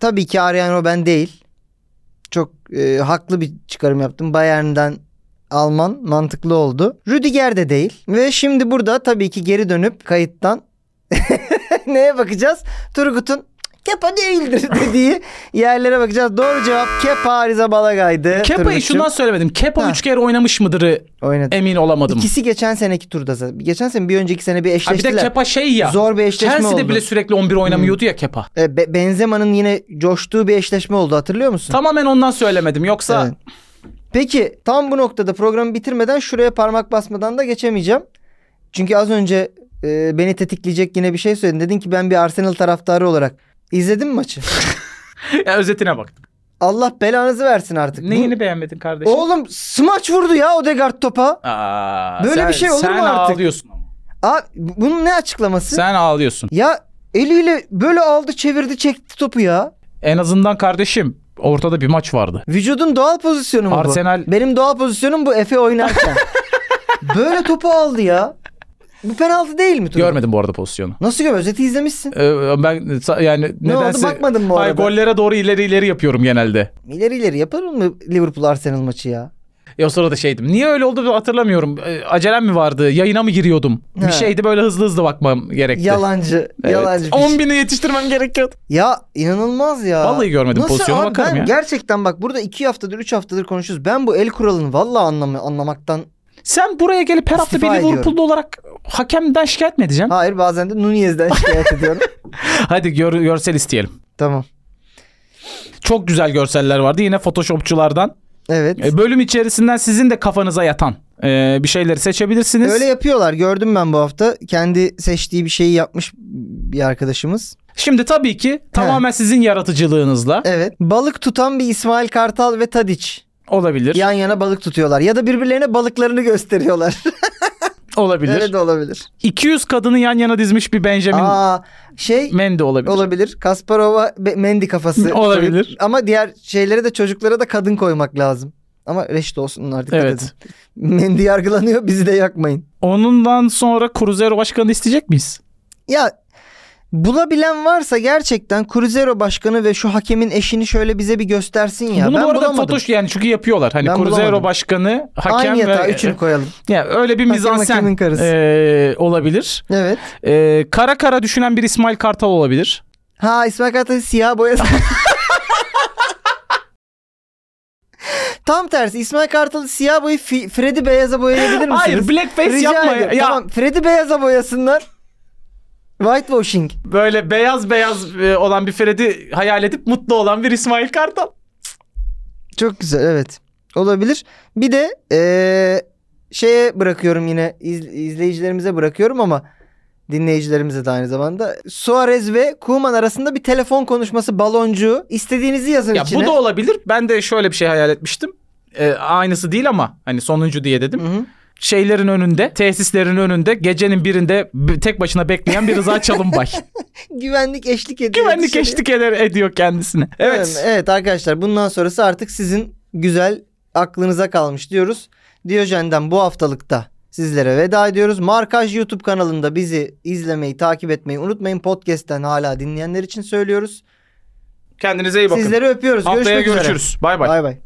S3: tabii ki Arjen Robben değil. Çok e, haklı bir çıkarım yaptım. Bayern'den Alman mantıklı oldu. Rüdiger de değil. Ve şimdi burada tabii ki geri dönüp kayıttan neye bakacağız? Turgut'un Kepa değildir dediği yerlere bakacağız. Doğru cevap Kepa Rizabalaga'ydı.
S2: Kepa'yı
S3: Turgut'cum.
S2: şundan söylemedim. Kepa
S3: Ha.
S2: 3 kere oynamış mıdırı
S3: oynadı.
S2: emin olamadım.
S3: İkisi geçen seneki turda. zaten. Geçen sene bir önceki sene bir
S2: Ha bir
S3: eşleştiler.
S2: de Kepa şey ya.
S3: Zor bir eşleşme
S2: Chelsea'de
S3: oldu.
S2: bile sürekli 11 oynamıyordu ya Kepa.
S3: E, Be- Benzema'nın yine coştuğu bir eşleşme oldu hatırlıyor musun?
S2: Tamamen ondan söylemedim. Yoksa
S3: Evet. Peki tam bu noktada programı bitirmeden şuraya parmak basmadan da geçemeyeceğim. Çünkü az önce e, beni tetikleyecek yine bir şey söyledin. Dedin ki ben bir Arsenal taraftarı olarak izledim mi maçı.
S2: Ya özetine bak.
S3: Allah belanızı versin artık. Bu-
S2: Neyini beğenmedin kardeşim?
S3: Oğlum smaç vurdu ya Odegaard topa.
S2: Aa,
S3: Böyle
S2: sen-
S3: bir şey olur mu
S2: sen
S3: artık?
S2: ağlıyorsun ama.
S3: Aa, bunun ne açıklaması?
S2: Sen ağlıyorsun.
S3: Ya Eliyle böyle aldı çevirdi çekti topu ya.
S2: En azından kardeşim ortada bir maç vardı.
S3: Vücudun doğal pozisyonu mu
S2: Arsenal-
S3: bu? Benim doğal pozisyonum bu Efe oynarken. böyle topu aldı ya. Bu penaltı değil mi? Turgut?
S2: Görmedim bu arada pozisyonu.
S3: Nasıl gör? Özeti izlemişsin.
S2: Ee, ben sa- yani
S3: Ne oldu
S2: nedense
S3: bakmadın mı
S2: Ay,
S3: orada?
S2: gollere doğru ileri ileri yapıyorum genelde.
S3: İleri ileri yapar mı Liverpool Arsenal maçı ya?
S2: Ya o sırada şeydim. Niye öyle oldu hatırlamıyorum. Ee, acelem mi vardı? Yayına mı giriyordum?
S3: He.
S2: Bir şeydi böyle hızlı hızlı bakmam gerekti.
S3: Yalancı.
S2: Evet.
S3: Yalancı. şey.
S2: 10 bini yetiştirmem gerekiyordu.
S3: Ya inanılmaz ya.
S2: Vallahi görmedim. Pozisyona
S3: abi?
S2: bakarım
S3: ben
S2: ya.
S3: Gerçekten bak burada iki haftadır üç haftadır konuşuyoruz. Ben bu el kuralını vallahi anlam anlamaktan.
S2: Sen buraya gelip her hafta
S3: İstifa
S2: bir
S3: ediyorum.
S2: Liverpool'lu olarak hakemden şikayet mi edeceksin?
S3: Hayır bazen de Nunez'den şikayet ediyorum.
S2: Hadi gör- görsel isteyelim.
S3: Tamam.
S2: Çok güzel görseller vardı yine Photoshopçulardan.
S3: Evet.
S2: E, Bölüm içerisinden sizin de kafanıza yatan e, bir şeyleri seçebilirsiniz.
S3: Öyle yapıyorlar. Gördüm ben bu hafta. Kendi seçtiği bir şeyi yapmış bir arkadaşımız.
S2: Şimdi tabii ki tamamen sizin yaratıcılığınızla
S3: Evet. Balık tutan bir İsmail Kartal ve Tadiç.
S2: olabilir.
S3: Yan yana balık tutuyorlar. Ya da birbirlerine balıklarını gösteriyorlar.
S2: olabilir.
S3: Öyle de olabilir.
S2: 200 kadını yan yana dizmiş bir Benjamin
S3: Aa, şey
S2: Mendy olabilir.
S3: olabilir. Kasparova Be- Mendy kafası.
S2: Olabilir.
S3: koyup- Ama diğer şeylere de çocuklara da kadın koymak lazım. Ama reşit olsun onlar dikkat
S2: Evet.
S3: edin. Mendy yargılanıyor bizi de yakmayın.
S2: Onundan sonra Cruzeiro başkanı isteyecek miyiz?
S3: Ya bulabilen varsa gerçekten Cruzeiro başkanı ve şu hakemin eşini şöyle bize bir göstersin ya.
S2: Bunu
S3: ben
S2: bu arada
S3: bulamadım.
S2: Photoshop yani çünkü yapıyorlar. Hani
S3: Ben
S2: Cruzeiro
S3: bulamadım.
S2: başkanı, hakem
S3: Aynı yatağa
S2: ve e,
S3: üçünü koyalım.
S2: yani öyle bir
S3: Hakem,
S2: mizansen
S3: hakemin karısı.
S2: e, olabilir.
S3: Evet.
S2: E, kara kara düşünen bir İsmail Kartal olabilir.
S3: Ha İsmail Kartal'ın siyah boyası. Tam tersi İsmail Kartal'ı siyah boyu Fi- Freddy beyaza boyayabilir misiniz?
S2: Hayır, blackface
S3: Rica
S2: yapma ya.
S3: ediyorum.
S2: Ya-
S3: Tamam Freddy beyaza boyasınlar. Whitewashing.
S2: Böyle beyaz beyaz e, olan bir Freddy hayal edip mutlu olan bir İsmail Kartal.
S3: Çok güzel evet. Olabilir. Bir de eee, şeye bırakıyorum yine iz- izleyicilerimize bırakıyorum ama dinleyicilerimize de aynı zamanda. Suarez ve Kuman arasında bir telefon konuşması baloncuğu. İstediğinizi yazın
S2: Ya
S3: içine.
S2: bu da olabilir. Ben de şöyle bir şey hayal etmiştim. E, aynısı değil ama hani sonuncu diye dedim.
S3: Hı hı.
S2: şeylerin önünde, tesislerin önünde gecenin birinde b- tek başına bekleyen bir Rıza Çalınbay.
S3: Güvenlik eşlik ediyor. Şey-
S2: Güvenlik
S3: dışarıya.
S2: eşlik eder ediyor kendisine.
S3: Evet.
S2: Evet.
S3: evet arkadaşlar bundan sonrası artık sizin güzel aklınıza kalmış diyoruz. Diyojen'den bu haftalıkta sizlere veda ediyoruz. Markaj YouTube kanalında bizi izlemeyi, takip etmeyi unutmayın. Podcast'ten hala dinleyenler için söylüyoruz.
S2: Kendinize iyi bakın.
S3: Sizleri öpüyoruz.
S2: Haftaya
S3: Görüşmek
S2: görüşürüz. Bay bay.
S3: üzere. Bay bay.